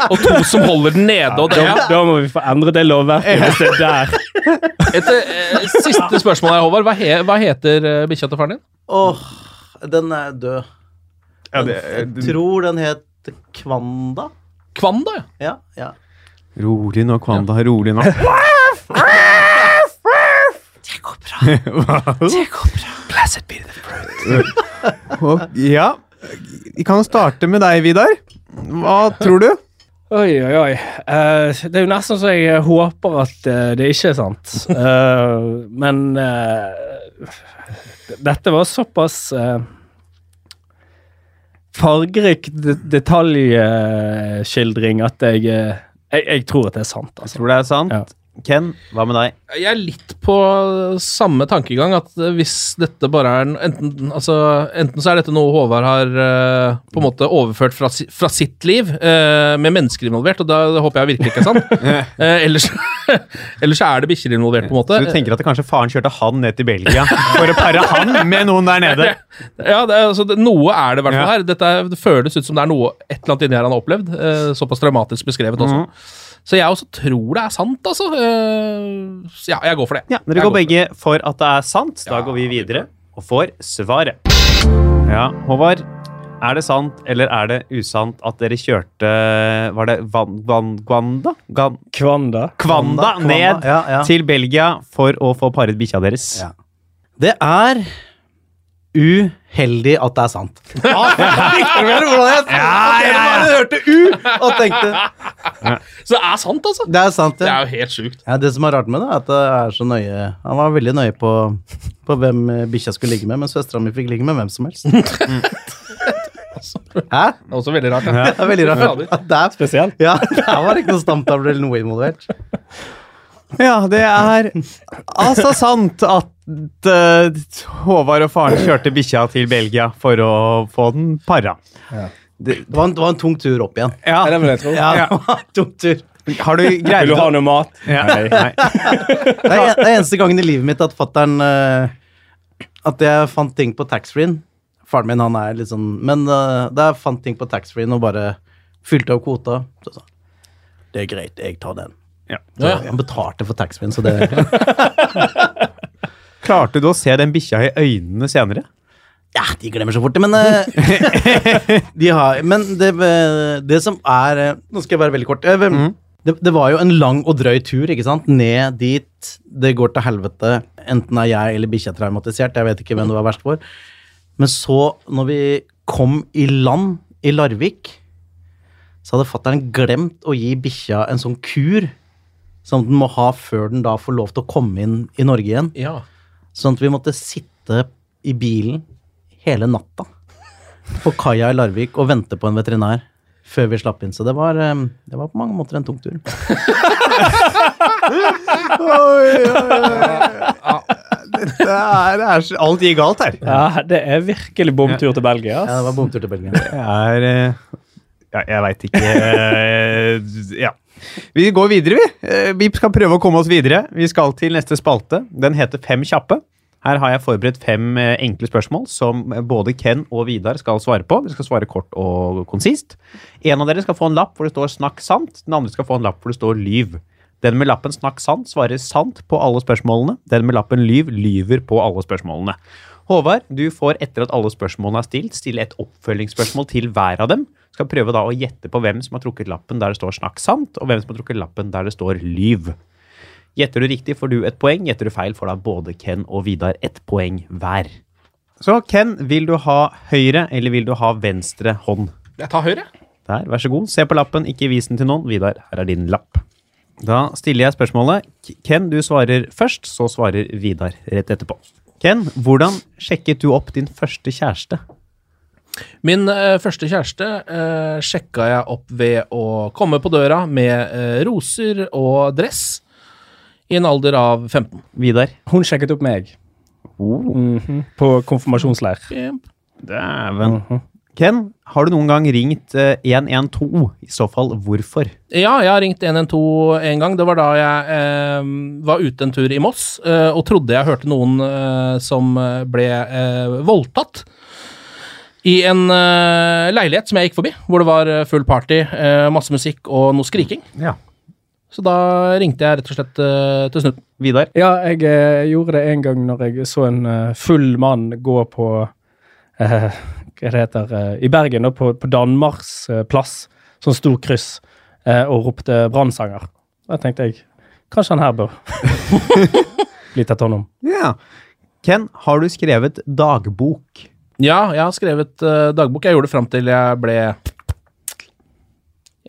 Og to som holder den nede, og det. Da, da må vi få endret det lovverket hvis det er der. Et, eh, siste spørsmål her, Håvard. Hva, he, hva heter eh, bikkja til faren din? Åh, den er død. Ja, det, Jeg tror den het Kvanda. Kvanda, ja. Ja, ja. rolig nå, Kvanda. Rolig nå. Det går bra. Det går bra. Blessed be the fruit. ja, vi kan starte med deg, Vidar. Hva tror du? Oi, oi, oi. Eh, det er jo nesten så jeg eh, håper at eh, det ikke er sant. Eh, men eh, d- dette var såpass eh, fargerikt de- detaljskildring at jeg, eh, jeg Jeg tror at det er sant, altså. Tror det er sant? Ja. Ken, hva med deg? Jeg er litt på samme tankegang, at eh, hvis dette bare er en- Enten, altså, enten så er dette noe Håvard har eh, på en måte overført fra, si, fra sitt liv, eh, med mennesker involvert, og da håper jeg virkelig ikke er sant. Eh, ellers, ellers er det bikkjer involvert, på en måte. Så du tenker at det kanskje faren kjørte han ned til Belgia for å pare han med noen der nede? Ja, det er, altså, det, noe er det i hvert fall Ja. her. Dette er, det føles ut som det er noe et eller annet inni her han har opplevd. Eh, såpass dramatisk beskrevet også. Mhm. Så jeg også tror det er sant, altså. Eh, så ja, jeg går for det. Ja, Jeg Dere går for det. begge for at det er sant. Da Ja. går vi videre og får svaret. Ja, Håvard. Er det sant eller er det usant at dere kjørte Var det Van, Van, Guanda? Gan, Kvanda. Kvanda, Kvanda, ned ja, ja. til Belgia for å få paret bikkja deres. Ja. Det er uheldig at det er sant. Ah, Likte dere hvordan jeg sa det? Dere bare hørte U og tenkte Så det er sant, altså. Det er sant, Det ja. er jo helt sjukt. ja. Det som er rart med det, er at det er så nøye Han var veldig nøye på, på hvem eh, bikkja skulle ligge med, men søstera mi fikk ligge med hvem som helst. Hæ? Det er også veldig rart. Det er veldig rart. Fader. At det er Spesielt. Ja, der var det ikke noe stamtavle eller noe involvert. Ja, det er altså sant at eh, Håvard og faren kjørte bikkja til Belgia for å få den para. Det var en, det var en tung tur opp igjen. Ja. det vil jeg tro. Ja, det var en tung tur. Har du greid Vil du ha noe mat? Ja. Det er, en- det er eneste gangen i livet mitt at fatteren eh, At jeg fant ting på taxfree-en. Faren min, han er litt sånn Men eh, da jeg fant ting på taxfree-en og bare fylte av kvota, så sa han Det er greit, jeg tar den. Så Ja. Han betalte for taxfree-en, så det Klarte du å se den bikkja i øynene senere? Ja, de glemmer så fort det, men eh, de har, Men det, eh, det som er eh, Nå skal jeg være veldig kort. Eh, hvem- Det, det var jo en lang og drøy tur ikke sant? ned dit det går til helvete. Enten er jeg eller bikkja traumatisert. Jeg vet ikke hvem det var verst for. Men så, når vi kom i land i Larvik, så hadde fattern glemt å gi bikkja en sånn kur som den må ha før den da får lov til å komme inn i Norge igjen. Ja. Sånn at vi måtte sitte i bilen hele natta på kaia i Larvik og vente på en veterinær før vi slapp inn. Så det var, eh, det var på mange måter en tung tur. Det er, det er, så- alt gikk galt her. Ja, det er virkelig bomtur til Ja, Belgia. det var ass. bomtur til Belgia. Det er eh, Ja, jeg veit ikke eh, Ja. Vi går videre, vi. Eh, Vi skal prøve å komme oss videre. Vi skal til neste spalte. Den heter Fem kjappe. Her har jeg forberedt fem eh, enkle spørsmål som både Ken og Vidar skal svare på. Dere skal svare kort og konsist. En av dere skal få en lapp hvor det står 'snakk sant'. Den andre skal få en lapp hvor det står 'lyv'. Den med lappen 'snakk sant' svarer sant på alle spørsmålene. Den med lappen 'lyv' lyver på alle spørsmålene. Håvard, du får etter at alle spørsmålene er stilt, stille et oppfølgingsspørsmål til hver av dem. Skal prøve da å gjette på hvem som har trukket lappen der det står 'snakk sant', og hvem som har trukket lappen der det står 'lyv'. Gjetter du riktig, får du et poeng. Gjetter du feil, får da både Ken og Vidar ett poeng hver. Så Ken, vil du ha høyre eller vil du ha venstre hånd? Jeg tar høyre. Der, vær så god. Se på lappen, ikke vis den til noen. Vidar, her er din lapp. Da stiller jeg spørsmålet. K- Ken, du svarer først, så svarer Vidar rett etterpå. Ken, hvordan sjekket du opp din første kjæreste? Min eh, første kjæreste eh, sjekka jeg opp ved å komme på døra med eh, roser og dress i en alder av 15. Vidar? Hun sjekket opp meg Mhm. på konfirmasjonsleir. Dæven. Ken, har du noen gang ringt eh, 112? I så fall, hvorfor? Ja, jeg har ringt 112 en gang. Det var da jeg eh, var ute en tur i Moss eh, og trodde jeg hørte noen eh, som eh, ble eh, voldtatt. I en eh, leilighet som jeg gikk forbi, hvor det var eh, full party, eh, masse musikk og noe skriking. Ja. Så da ringte jeg rett og slett eh, til Snutten. Vidar? Ja, jeg eh, gjorde det en gang når jeg så en eh, full mann gå på eh, Hva det heter eh, I Bergen, da, på, på Danmarks eh, plass. Sånn stor kryss. eh, og ropte brannsanger. Da tenkte jeg kanskje han her bør bli tatt hånd om. Ja. Ken, har du skrevet dagbok? Ja, jeg har skrevet eh, dagbok. Jeg gjorde det fram til jeg ble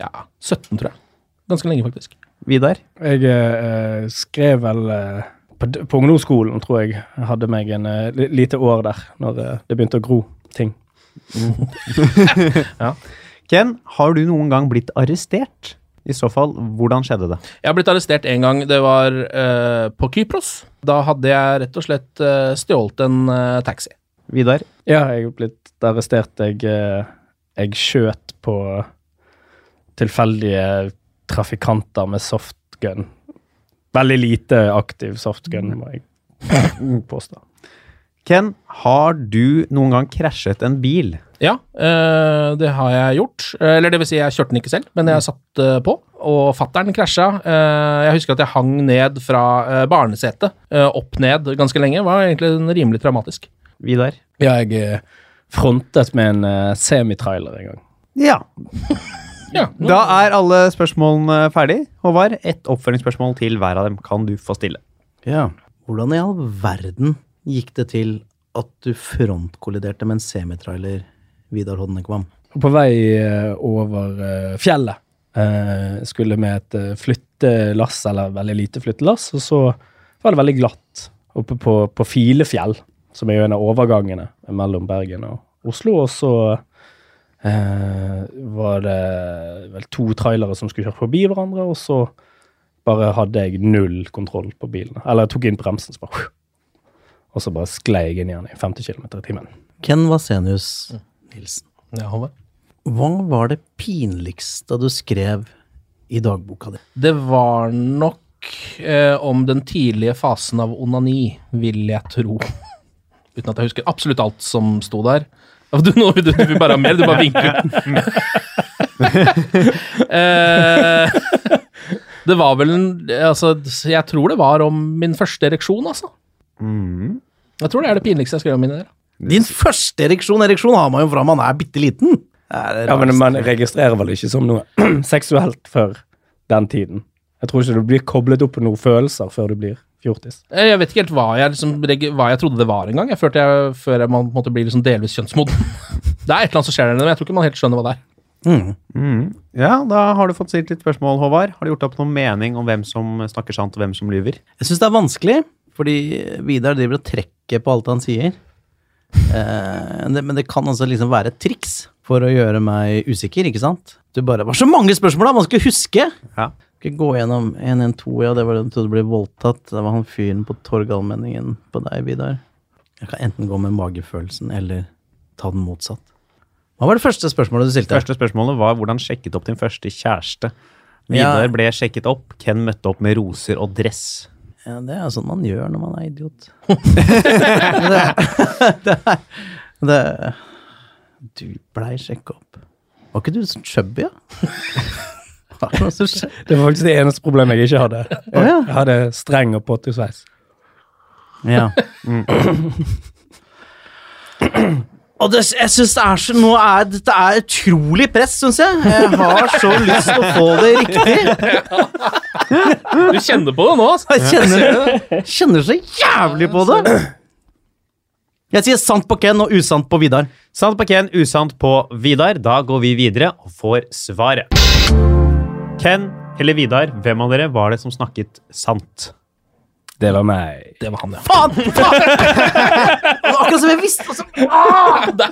ja, 17, tror jeg. Ganske lenge, faktisk. Vidar? Jeg eh, skrev vel eh, på, d- på ungdomsskolen, tror jeg, jeg hadde meg en eh, li- lite år der, når eh, det begynte å gro ting. Ken, har du noen gang blitt arrestert? I så fall, hvordan skjedde det? Jeg har blitt arrestert en gang. Det var eh, på Kypros. Da hadde jeg rett og slett eh, stjålet en eh, taxi. Vidar? Ja, jeg er blitt arrestert. Jeg, eh, jeg skjøt på tilfeldige trafikanter med softgun. Veldig lite aktiv softgun, må jeg påstå. Ken, har du noen gang krasjet en bil? Ja, eh, det har jeg gjort. Eh, Eller det vil si, jeg kjørte den ikke selv, men jeg satt eh, på. Og fattern krasja. Eh, jeg husker at jeg hang ned fra eh, barnesetet, eh, opp ned ganske lenge. Det var egentlig rimelig traumatisk. Vidar? Ja, jeg eh, frontet med en eh, semitrailer en gang. Ja. Ja, Da er alle spørsmålene ferdig. Håvard, ett oppfølgingsspørsmål til hver av dem kan du få stille. Ja. Hvordan i all verden gikk det til at du frontkolliderte med en semitrailer, Vidar Hodnekvam? Og På vei eh, over eh, fjellet eh, skulle med et eh, flyttelass, eller veldig lite flyttelass, og så var det veldig glatt oppe på, på Filefjell, som er jo en av overgangene mellom Bergen og Oslo. Og så eh, var det vel to trailere som skulle kjøre forbi hverandre, og så bare hadde jeg null kontroll på bilen. Eller jeg tok inn bremsen, så bare Og så bare sklei jeg inn i den i 50 km i timen. Ken Vasenius Nilsen, Ja, Håvard. hva var det pinligste du skrev i dagboka di? Det var nok eh, om den tidlige fasen av onani, vil jeg tro. Uten at jeg husker absolutt alt som sto der. Ja, Du, nå, du, du vil bare ha mer, du bare vinker. eh, det var vel en altså, Jeg tror det var om min første ereksjon, altså. Jeg tror det er det pinligste jeg skrev om mine. der. Din første ereksjon! Ereksjon har man jo fra man er bitte liten. Ja, men man registrerer vel ikke som noe seksuelt før den tiden. Jeg tror ikke du blir koblet opp på noen følelser før du blir fjortis. Eh, Jeg vet ikke helt hva jeg, liksom, reg- hva jeg trodde det var engang. Jeg følte jeg før jeg, man på en måte blir liksom delvis kjønnsmoden. Det er et eller annet som skjer der nede, men jeg tror ikke man helt skjønner hva det er. Mm. Ja, da har du fått stilt litt spørsmål, Håvard. Har du gjort opp noen mening om hvem som snakker sant, og hvem som lyver? Jeg syns det er vanskelig, fordi Vidar driver og trekker på alt han sier. Eh, det, men det kan altså liksom være et triks for å gjøre meg usikker, ikke sant? Du bare var så mange spørsmål, da! Man skulle huske! Ja. Skal gå gjennom 112, ja, det var den trodde ble voldtatt. Det var han fyren på Torgallmenningen på deg, Vidar. Jeg kan enten gå med magefølelsen eller ta den motsatt. Hva var det første spørsmålet du stilte? Første spørsmålet var hvordan sjekket opp din første kjæreste? Vidar Ja. ble sjekket opp, Ken møtte opp med roser og dress. Ja, det er jo sånn man gjør når man er idiot. det, det, det Du blei sjekka opp. Var ikke du sånn chubby, ja? Var det noe som skjedde? Det var faktisk det eneste problemet jeg ikke hadde. ja. Jeg hadde streng og pottesveis. Ja. Og det, jeg synes det er så, nå er, Dette er utrolig press, syns jeg. Jeg har så lyst til å få det riktig. Du kjenner på det nå, altså. Jeg kjenner, kjenner så jævlig på det. Jeg sier sant på Ken og usant på Vidar. Sant på Ken, usant på Vidar. Da går vi videre og får svaret. Ken eller Vidar, hvem av dere var det som snakket sant? Det var meg. Det var han, ja. Faen! faen! Det var Akkurat som jeg visste! og så-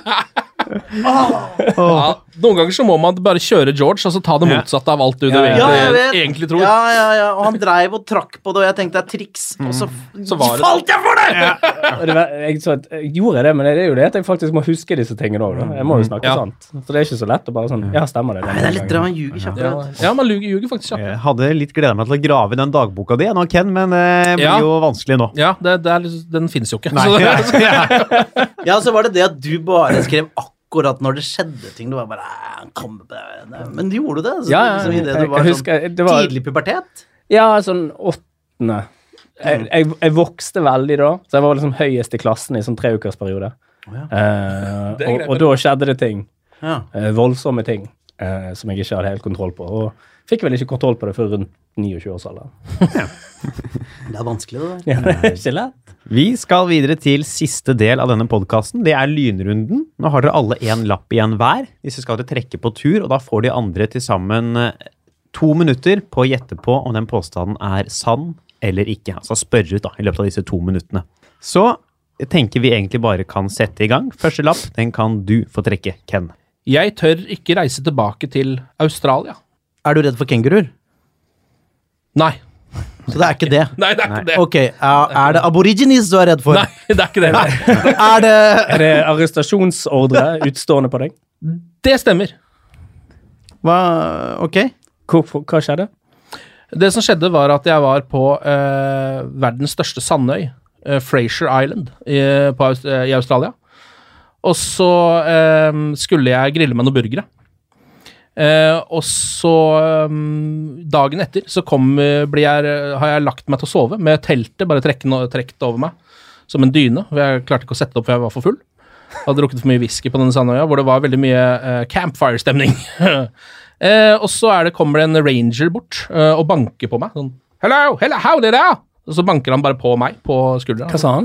ja. Noen ganger så må man bare kjøre George, altså ta det Ja. motsatte av alt du, du Ja, egentlig, jeg vet. egentlig tror. Ja, ja, ja. Og han dreiv og trakk på det, og jeg tenkte det er triks, og så, Så var det- falt jeg for det! Og det var, jeg, så at, jeg gjorde det, men det er jo det at jeg faktisk må huske disse tingene òg. Jeg må jo snakke Ja. sant. Så det er ikke så lett å bare sånn Ja, stemmer det. Nei, det er litt drøm, han ljuger kjappere. vet du. Ja, man ljuger, ljuger faktisk kjapt. Jeg hadde litt gleda meg til å grave i den dagboka di nå, Ken, men eh, det blir Ja. jo vanskelig nå. Ja, det, det er, litt- den finnes jo ikke. Nei, Så det, Ja, så var det det at du bare skrev akkurat når det skjedde ting. Du var bare "Æ, han kommer på det. Nei, Men du gjorde det. Så det var Ja, ja. liksom i det Jeg- du var jeg husker- sånn det var- tidlig pubertet. Ja, sånn åttende. Jeg, jeg, jeg vokste veldig da, så jeg var liksom høyest i klassen i sånn treukersperiode. ja. Eh, Det er og, greit, og da skjedde det ting. Ja. Eh, voldsomme ting eh, som jeg ikke hadde helt kontroll på. Og fikk vel ikke kontroll på det før rundt 29-årsalderen. Det er vanskelig, det der. Ja, det er ikke lett. Vi skal videre til siste del av denne podkasten. Det er lynrunden. Nå har dere alle én lapp igjen hver. Disse skal dere trekke på tur, og da får de andre til sammen eh, to minutter på å gjette på om den påstanden er sann eller ikke. Altså spørre ut da, i løpet av disse to minuttene. Så jeg tenker vi egentlig bare kan sette i gang. Første lapp den kan du få trekke, Ken. jeg tør ikke reise tilbake til Australia. Er du redd for kenguruer? Nei. Så det er ikke det. Nei, det er ikke det. Ok, er, er det aborigines du er redd for? Nei, det er ikke det. Er det Er det arrestasjonsordre utstående på deg? Det stemmer. Hva Ok. Hvorfor, hva skjedde? Det som skjedde, var at jeg var på eh, verdens største sandøy, eh, Fraser Island, i, på, Aus- eh, i Australia. Og så eh, skulle jeg grille meg noen burgere. Eh, og så eh, Dagen etter så kom, eh, blir jeg, har jeg lagt meg til å sove med teltet bare trekkende- trukket over meg som en dyne. For jeg klarte ikke å sette det opp, for jeg var for full. Hadde drukket for mye whisky på denne sandøya, hvor det var veldig mye eh, campfire-stemning. Eh, og så er det, kommer det en ranger bort eh, og banker på meg. Sånn, hello, hello, howdy there! Og så banker han bare på meg på skuldra. Hva sa han?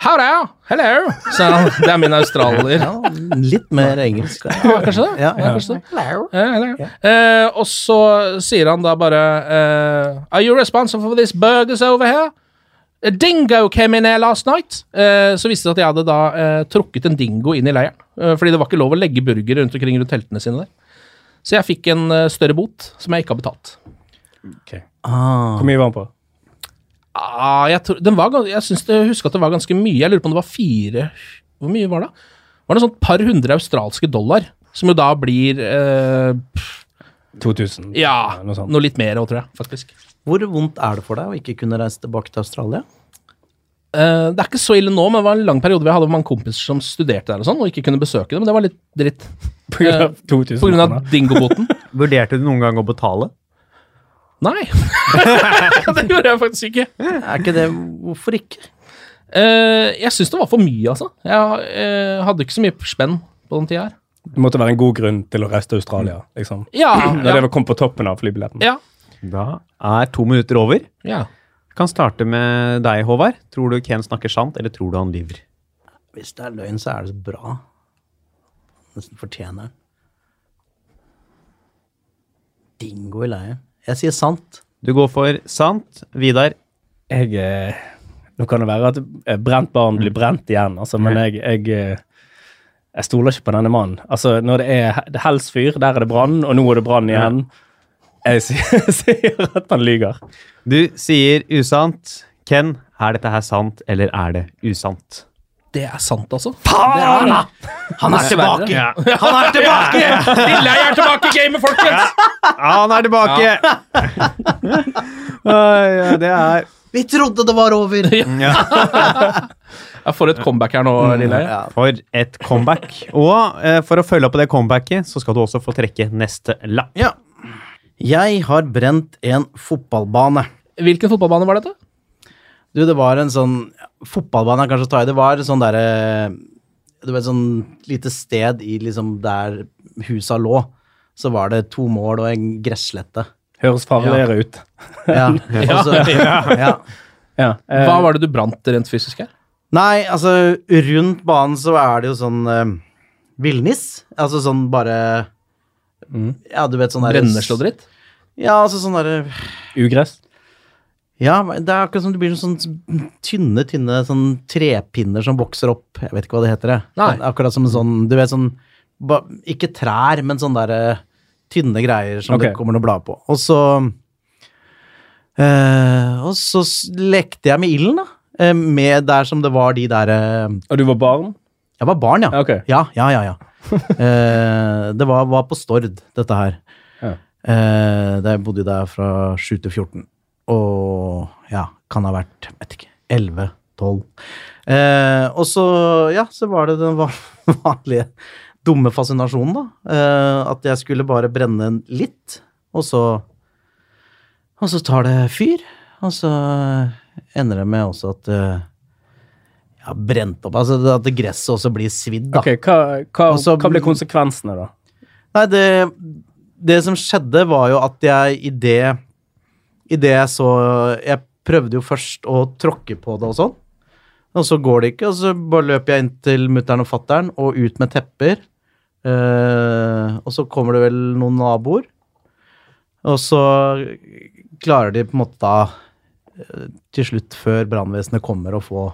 Howdy, hello! Så han, det er min australier. Ja, Litt mer engelsk. der. kanskje det? Ja, ja. kanskje det. Eh, hello. Eh, og så sier han da bare eh, Are you responsible for this burgers over here? A dingo came in here last night. Eh, så viste det seg at jeg hadde da eh, trukket en dingo inn i leiren. Eh, fordi det var ikke lov å legge burgere rundt omkring rundt teltene sine der. Så jeg fikk en eh, større bot som jeg ikke har betalt. Ah. Hvor mye var han på? Ah, jeg tror, den var, gans- jeg syns det, jeg husker at det var ganske mye. Jeg lurer på om det var fire Hvor mye var det? Var det sånn et par hundre australske dollar? Som jo da blir eh, pff, 2000? Ja, noe sånt. noe litt mer òg, tror jeg. faktisk. Hvor vondt er det for deg å ikke kunne reise tilbake til Australia? Eh, det er ikke så ille nå, men det var en lang periode hvor jeg hadde mange kompiser som studerte der og sånn, og ikke kunne besøke dem. Det var litt dritt. På grunn av 2000 På grunn av kroner. dingoboten. Vurderte du noen gang å betale? Nei! det gjorde jeg faktisk ikke. Er ikke det Hvorfor ikke? Eh, jeg syns det var for mye, altså. Jeg eh, hadde ikke så mye spenn på den tida her. Det måtte være en god grunn til å reise til Australia, liksom. Ja, Når ja, det var- kom på toppen av flybilletten. ja, Da er to minutter over. ja. Kan starte med deg, Håvard. Tror du Ken snakker sant, eller tror du han lyver? Hvis det er løgn, så er det så bra. Nesten fortjener den. Dingo i leiren. Jeg sier sant. Du går for sant. Vidar, Jeg eh, Nå kan det være at eh, brent barn Mm. blir brent igjen, altså, men jeg, jeg eh, jeg stoler ikke på denne mannen. Altså, når det er he- det er Helsfyr, der er det brann, og nå er det brann igjen. Jeg sier, sier at han lyger. du sier usant. Ken, er dette her sant, eller er det usant? Det er sant, altså. Han er tilbake! Ja. Han er tilbake! Lille jeg er tilbake i gamet, folkens! han er tilbake! det er Vi trodde det var over! Jeg får et comeback her nå, Lille. Ja. For et comeback. Og eh, for å følge opp på det comebacket, så skal du også få trekke neste lapp. Ja. Jeg har brent en fotballbane. Hvilken fotballbane var dette? Du, det var en sånn Fotballbane er kanskje å ta i. Det var sånn derre Du vet, sånn lite sted i liksom der husa lå. Så var det to mål og en gresslette. Høres farligere ut. Ja. Og så, ja. Ja. eh, Hva var det du brant rent fysisk her? Nei, altså rundt banen så er det jo sånn eh, villnis. Altså sånn bare Ja, du vet sånn der Brennesle og dritt? Ja, altså sånn derre Ugress? Ja, det er akkurat som det blir sånn tynne, tynne sånn trepinner som vokser opp. Jeg vet ikke hva det heter. det. Nei. Men Akkurat som en sånn, du vet sånn ba, Ikke trær, men sånn derre tynne greier som Ok. det kommer noen blad på. Og så eh, Og så s- lekte jeg med ilden, da. Eh, Med der som det var de der eh, Og du var barn? Jeg var barn, ja. Ja, ok. Ja, ja, ja. ja. Eh, det var, var på Stord, dette her. Ja. Eh, der jeg bodde jo der fra 7 til 14. Og ja, kan ha vært jeg vet ikke, 11, 12. Eh, og så, ja, så var det den van- vanlige dumme fascinasjonen, da. Eh, at jeg skulle bare brenne litt, og så Og så tar det fyr. Og så ender det med også at eh, ja, brent opp. Altså at gresset også blir svidd, da. Ok, hva, hva, Og så- hva ble konsekvensene, da? Nei, det, det som skjedde var jo at jeg i det, i det jeg så Jeg prøvde jo først å tråkke på det og sånn, og så går det ikke. Og så bare løper jeg inn til mutter'n og fatter'n og ut med tepper. Eh, og så kommer det vel noen naboer, og så klarer de på en måte da eh, til slutt, før brannvesenet kommer, å få,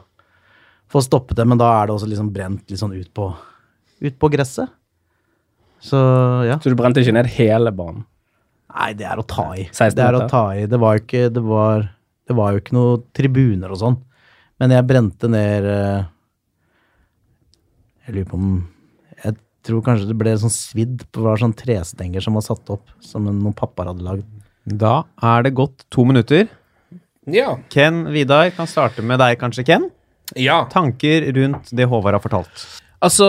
få stoppet det. Men da er det også liksom brent litt sånn ut på, ut på gresset. Så ja. Så du brente ikke ned hele banen? Nei, det er å ta i. 16 Det er å minutter. ta i. Det var jo ikke, det var, det var jo ikke noe tribuner og sånn. Men jeg brente ned eh, Jeg lurer på om Jeg tror kanskje det ble sånn svidd på det var sånn trestenger som var satt opp, som noen pappaer hadde lagd. Da er det gått to minutter. Ja. Ken Vidar, kan starte med deg kanskje, Ken. ja. Tanker rundt det Håvard har fortalt. Altså,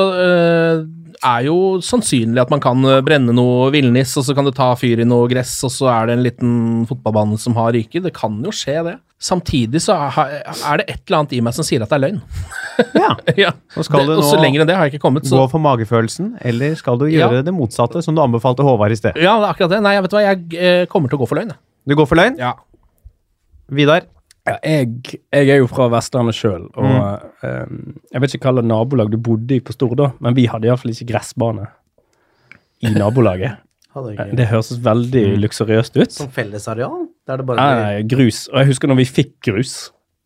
det er jo sannsynlig at man kan eh, brenne noe villnis, og så kan det ta fyr i noe gress, og så er det en liten fotballbane som har ryket. Det kan jo skje, det. Samtidig så ha- er det et eller annet i meg som sier at det er løgn. Ja. ja. Og skal det, du og så nå lenger enn det har jeg ikke kommet. Så, Gå for magefølelsen, eller skal du Ja. gjøre det motsatte, som du anbefalte Håvard i sted? ja, det er akkurat det. Nei, jeg vet du hva, jeg eh, kommer til å gå for løgn. jeg. Du går for løgn? Ja. Vidar? Ja, jeg, jeg er jo fra Vestlandet sjøl, og Mm. eh, jeg vet ikke hva slags nabolag du bodde i på Stord, da, men vi hadde iallfall ikke gressbane i nabolaget. Hadde ikke. Det høres veldig luksuriøst ut. Eh, Som fellesareal? Der Mm. Sånn det bare Nei, nei, grus. Og jeg husker når vi fikk grus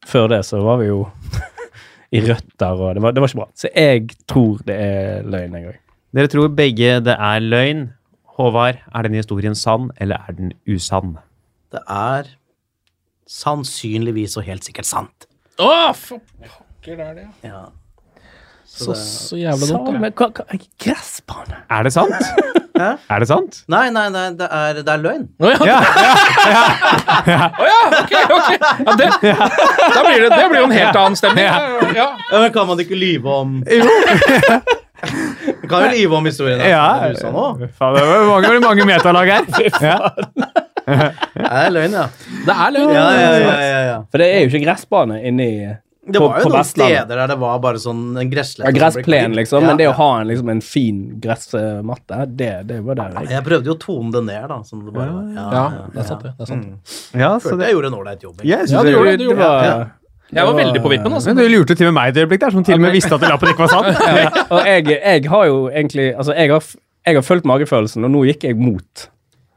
før det, så var vi jo i røtter, og det var, det var ikke bra. Så jeg tror det er løgn, jeg òg. Dere tror begge det er løgn. Håvard, er denne historien sann, eller er den usann? Det er sannsynligvis og helt sikkert sant. Å, for pokker er det, ja. Ja. Så, så jævla dumt. da. Gressbane? Er det sant? er det sant? Nei, nei, nei, det er, det er løgn. Å ja, Ja, å ja, ok, ok. Ja, det, da blir det, det blir jo en helt annen stemning. Ja. Ja. Ja, men kan man ikke lyve om Jo! man kan jo lyve om historien. da. ja. Det er usann også. Faen, det var mange, mange metalag her. Ja. Det er løgn, ja. Det er løgn. Ja, ja, ja, ja, ja. For det er jo ikke gressbane inni Det var jo på noen Vestlandet. steder der det var bare sånn en gresslette. ja, som ble gressplen, klipt. liksom. Ja. Men det å ha en, liksom, en fin gressmatte, det, det var det. jeg- Jeg prøvde jo å tone det ned, da. Som det bare var. Ja, Ja, Mm. ja. det er sant, det. det, er sant. ja, så Følte det jeg gjorde en ålreit jobb. egentlig. Ja, jeg synes det det gjorde gjorde det, du gjorde var- Jeg var veldig på vippen, altså. Men Du lurte til og med meg et øyeblikk der, som til og med visste at lappen ikke var sann. Ja, og jeg, jeg har jo egentlig Altså, jeg har, f- jeg har fulgt magefølelsen, og nå gikk jeg mot.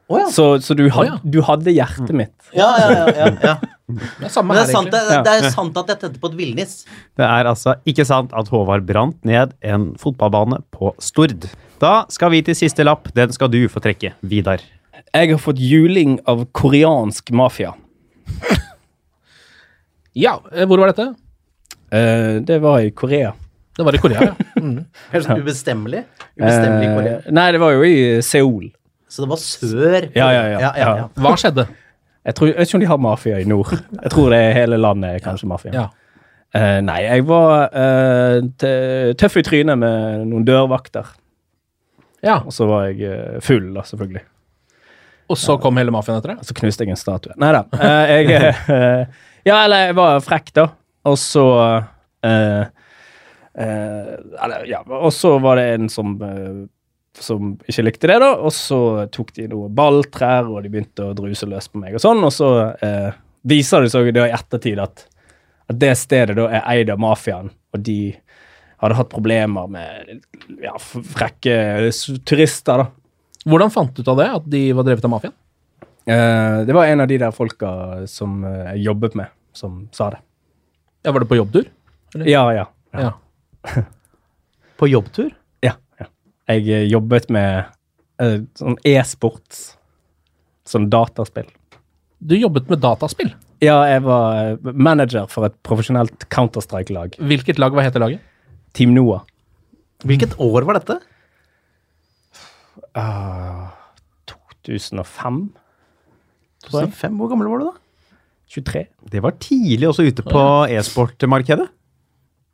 Å, ja. Så, så du, Å, had, ja. du hadde Mm. hjertet mitt. Ja, ja, ja, ja, ja. Det er samme Men det her, er, sant, egentlig. det, er- det er sant at jeg tente på et villnis. Det er altså ikke sant at Håvard brant ned en fotballbane på Stord. Da skal vi til siste lapp. Den skal du få trekke, Vidar. Jeg har fått juling av koreansk mafia. Ja, eh, hvor var dette? Eh, det var i Korea. Det var i Korea, ja. Helt sånn ubestemmelig. Ubestemmelig Korea. Eh, nei, det var jo i Seoul. Så det var sør. Ja, ja, ja. ja, ja, ja. Hva skjedde? Jeg, tror, jeg vet ikke om de har mafia i nord. Jeg tror det er hele landet er kanskje mafia. Ja. Eh, nei, jeg var eh, tø- tøff i trynet med noen dørvakter. ja. Og så var jeg eh, full, da, selvfølgelig. Og så kom hele mafiaen etter det? Og så knuste jeg en statue. Nei da. eh, jeg eh, Ja, eller jeg var frekk, da. Og så eh, eh, Eller, ja. Og så var det en som eh, som ikke likte det, da. Og så tok de noe balltrær, og de begynte å druse løs på meg og sånn. Og så eh, viser det seg da i ettertid at, at det stedet da er eid av mafiaen, og de hadde hatt problemer med ja, frekke s- turister, da. Hvordan fant du ut av det, at de var drevet av mafiaen? Eh, det var en av de der folka som eh, jeg jobbet med, som sa det. Ja, Var det på jobbtur? Ja, ja. Ja, Ja. På jobbtur? ja, ja. Jeg eh, jobbet med eh, sånn e-sports, sånn dataspill. Du jobbet med dataspill. Ja, jeg var eh, manager for et profesjonelt Counter-Strike-lag. Hvilket lag? Hva heter laget? Team Noah. Hvilket år var dette? 2005? 2005? Hvor gammel var du da? 23? Det var tidlig også ute på e-sportmarkedet.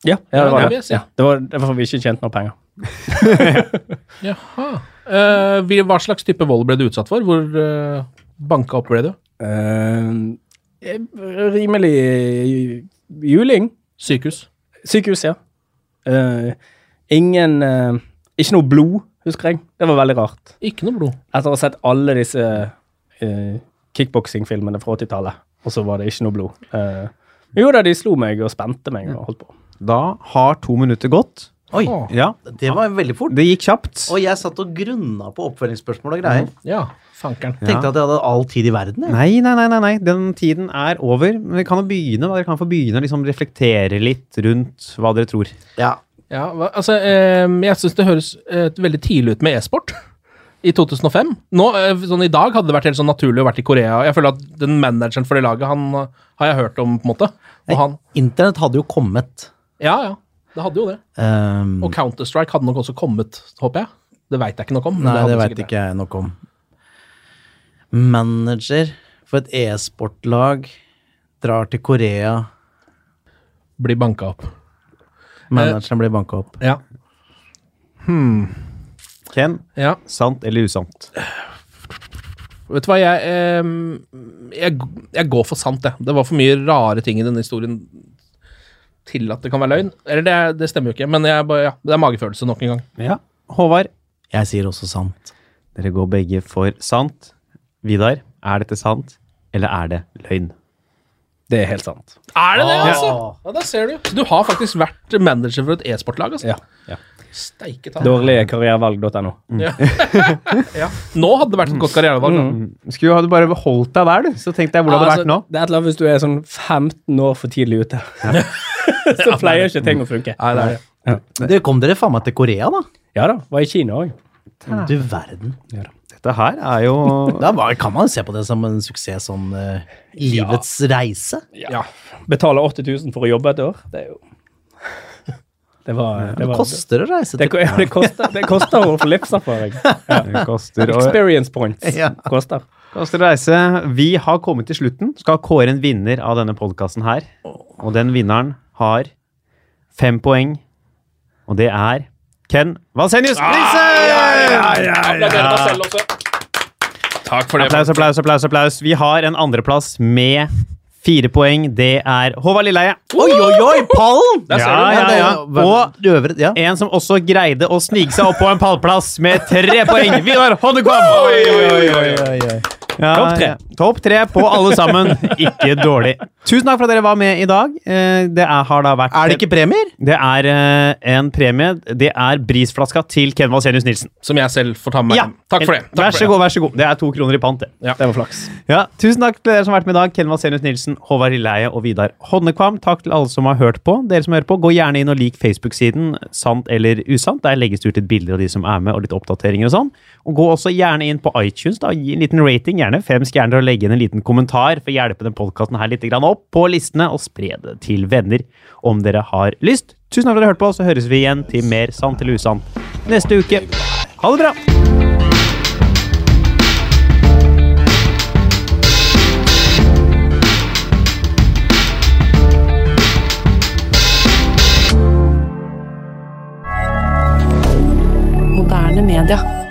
Ja, ja, Ja, det det var vil jeg det. si. Ja, det var derfor vi ikke tjente noe penger. Jaha. Eh, vi- hva slags type vold ble du utsatt for? Hvor uh, banka opp ble du? Eh, rimelig ju- juling. Sykehus. Sykehus, ja. Eh, ingen eh, Ikke noe blod, husker jeg. Det var veldig rart. Ikke noe blod. Etter å ha sett alle disse uh, kickboksingfilmene fra 80-tallet, og så var det ikke noe blod. Eh, jo da, de slo meg og spente meg og holdt på. Da har to minutter gått. Oi, Åh. Ja, det var veldig fort. det gikk kjapt. Og jeg satt og grunna på oppfølgingsspørsmål og greier. Ja, fankeren. Tenkte at jeg hadde all tid i verden. Jeg. Nei, nei, nei, nei, nei. den tiden er over. Men vi kan jo begynne, da. dere kan få begynne å liksom reflektere litt rundt hva dere tror. Ja. Ja, hva, altså, eh, jeg syns det høres eh, veldig tidlig ut med e-sport. I 2005. Nå, eh, sånn I dag hadde det vært helt sånn naturlig å vært i Korea. Jeg føler at Den manageren for det laget han eh, har jeg hørt om, på en måte. Og han, Internett hadde jo kommet. ja, ja, det hadde jo det. Ehm, Og Counter-Strike hadde nok også kommet, håper jeg. Det veit jeg ikke noe om. men Nei, det hadde veit sikkert ikke jeg nok om. Manager for et e-sportlag drar til Korea. Bli banka opp. Manageren blir banka opp. Ja. Ken, ja. sant eller usant? Vet du hva, jeg, ehm, jeg, jeg går for sant, jeg. Det var for mye rare ting i denne historien til at det kan være løgn. Eller det, det stemmer jo ikke, men jeg, bare- ja, det er magefølelse nok en gang. Ja. Håvard, Jeg sier også sant. dere går begge for sant. Vidar, er dette sant, eller er det løgn? Det er helt sant. Er det det, Ah. altså? Ja, da ser du. Du har faktisk vært manager for et e-sportlag, altså. Ja, ja. Steike ta. Dårlige karrierevalg.no. Ja. Nå hadde det vært et godt karrierevalg. da. Mm. Skulle du bare beholdt deg der, du, så tenkte jeg hvor Ja, altså, Det er et eller annet hvis du er sånn 15 år for tidlig ute. så pleier ikke ting å funke. Nei, det er det. Dere kom dere faen meg til Korea, da? Ja da, var i Kina òg. Du verden. Dette her er jo Da var, kan man jo se på det som en suksess sånn eh, livets reise. Ja. Betaler 80 000 for å jobbe et år. Det er jo Det var Det, Det var, det, koster å reise det, til ja, det, koster, det koster å få livserfaring. Det koster å Experience points Ja. koster. koster å reise. Vi har kommet til slutten. Skal kåre en vinner av denne podkasten her. Og den vinneren har fem poeng, og det er Ken Valsenius Nilsen! Applauderer deg selv også. Takk for det. Applaus, applaus, applaus. applaus. Vi har en andreplass med fire poeng. Det er Håvard Lilleheie. Oi, oi, oi! Pallen! Der ser du. Ja, ja, ja. Og det øvrige Ja. En som også greide å snike seg opp på en pallplass med tre poeng. Vidar Hodnekvam! Ja, Topp tre. ja. Topp tre på alle sammen. Ikke dårlig. Tusen takk for at dere var med i dag. Eh, Det er, har da vært Er det ikke premier? Det er eh, en premie. Det er brisflaska til Ken Valsenius Nilsen. Som jeg selv får ta med meg. Ja. hjem. Takk for det. Takk Vær for så det. god, vær så god. Det er to kroner i pant, det. Det var flaks. Ja, tusen takk til dere som har vært med i dag. Ken Vasenius Nilsen, Håvard Lilleheie og Vidar Hodnekvam. Takk til alle som har hørt på. Dere som hører på, gå gjerne inn og lik Facebook-siden Sant eller usant. Der legges det ut litt bilder av de som er med, og litt oppdateringer og sånn. Og gå også gjerne inn på iTunes, da. Gi en liten rating, gjerne fem stjerner, og legge inn en liten kommentar for å hjelpe den podkasten her litt grann opp på listene, og spre det til venner om dere har lyst. Tusen takk for at dere hørte på, så høres vi igjen til mer Sant eller usant neste uke. Ha det bra! moderne media.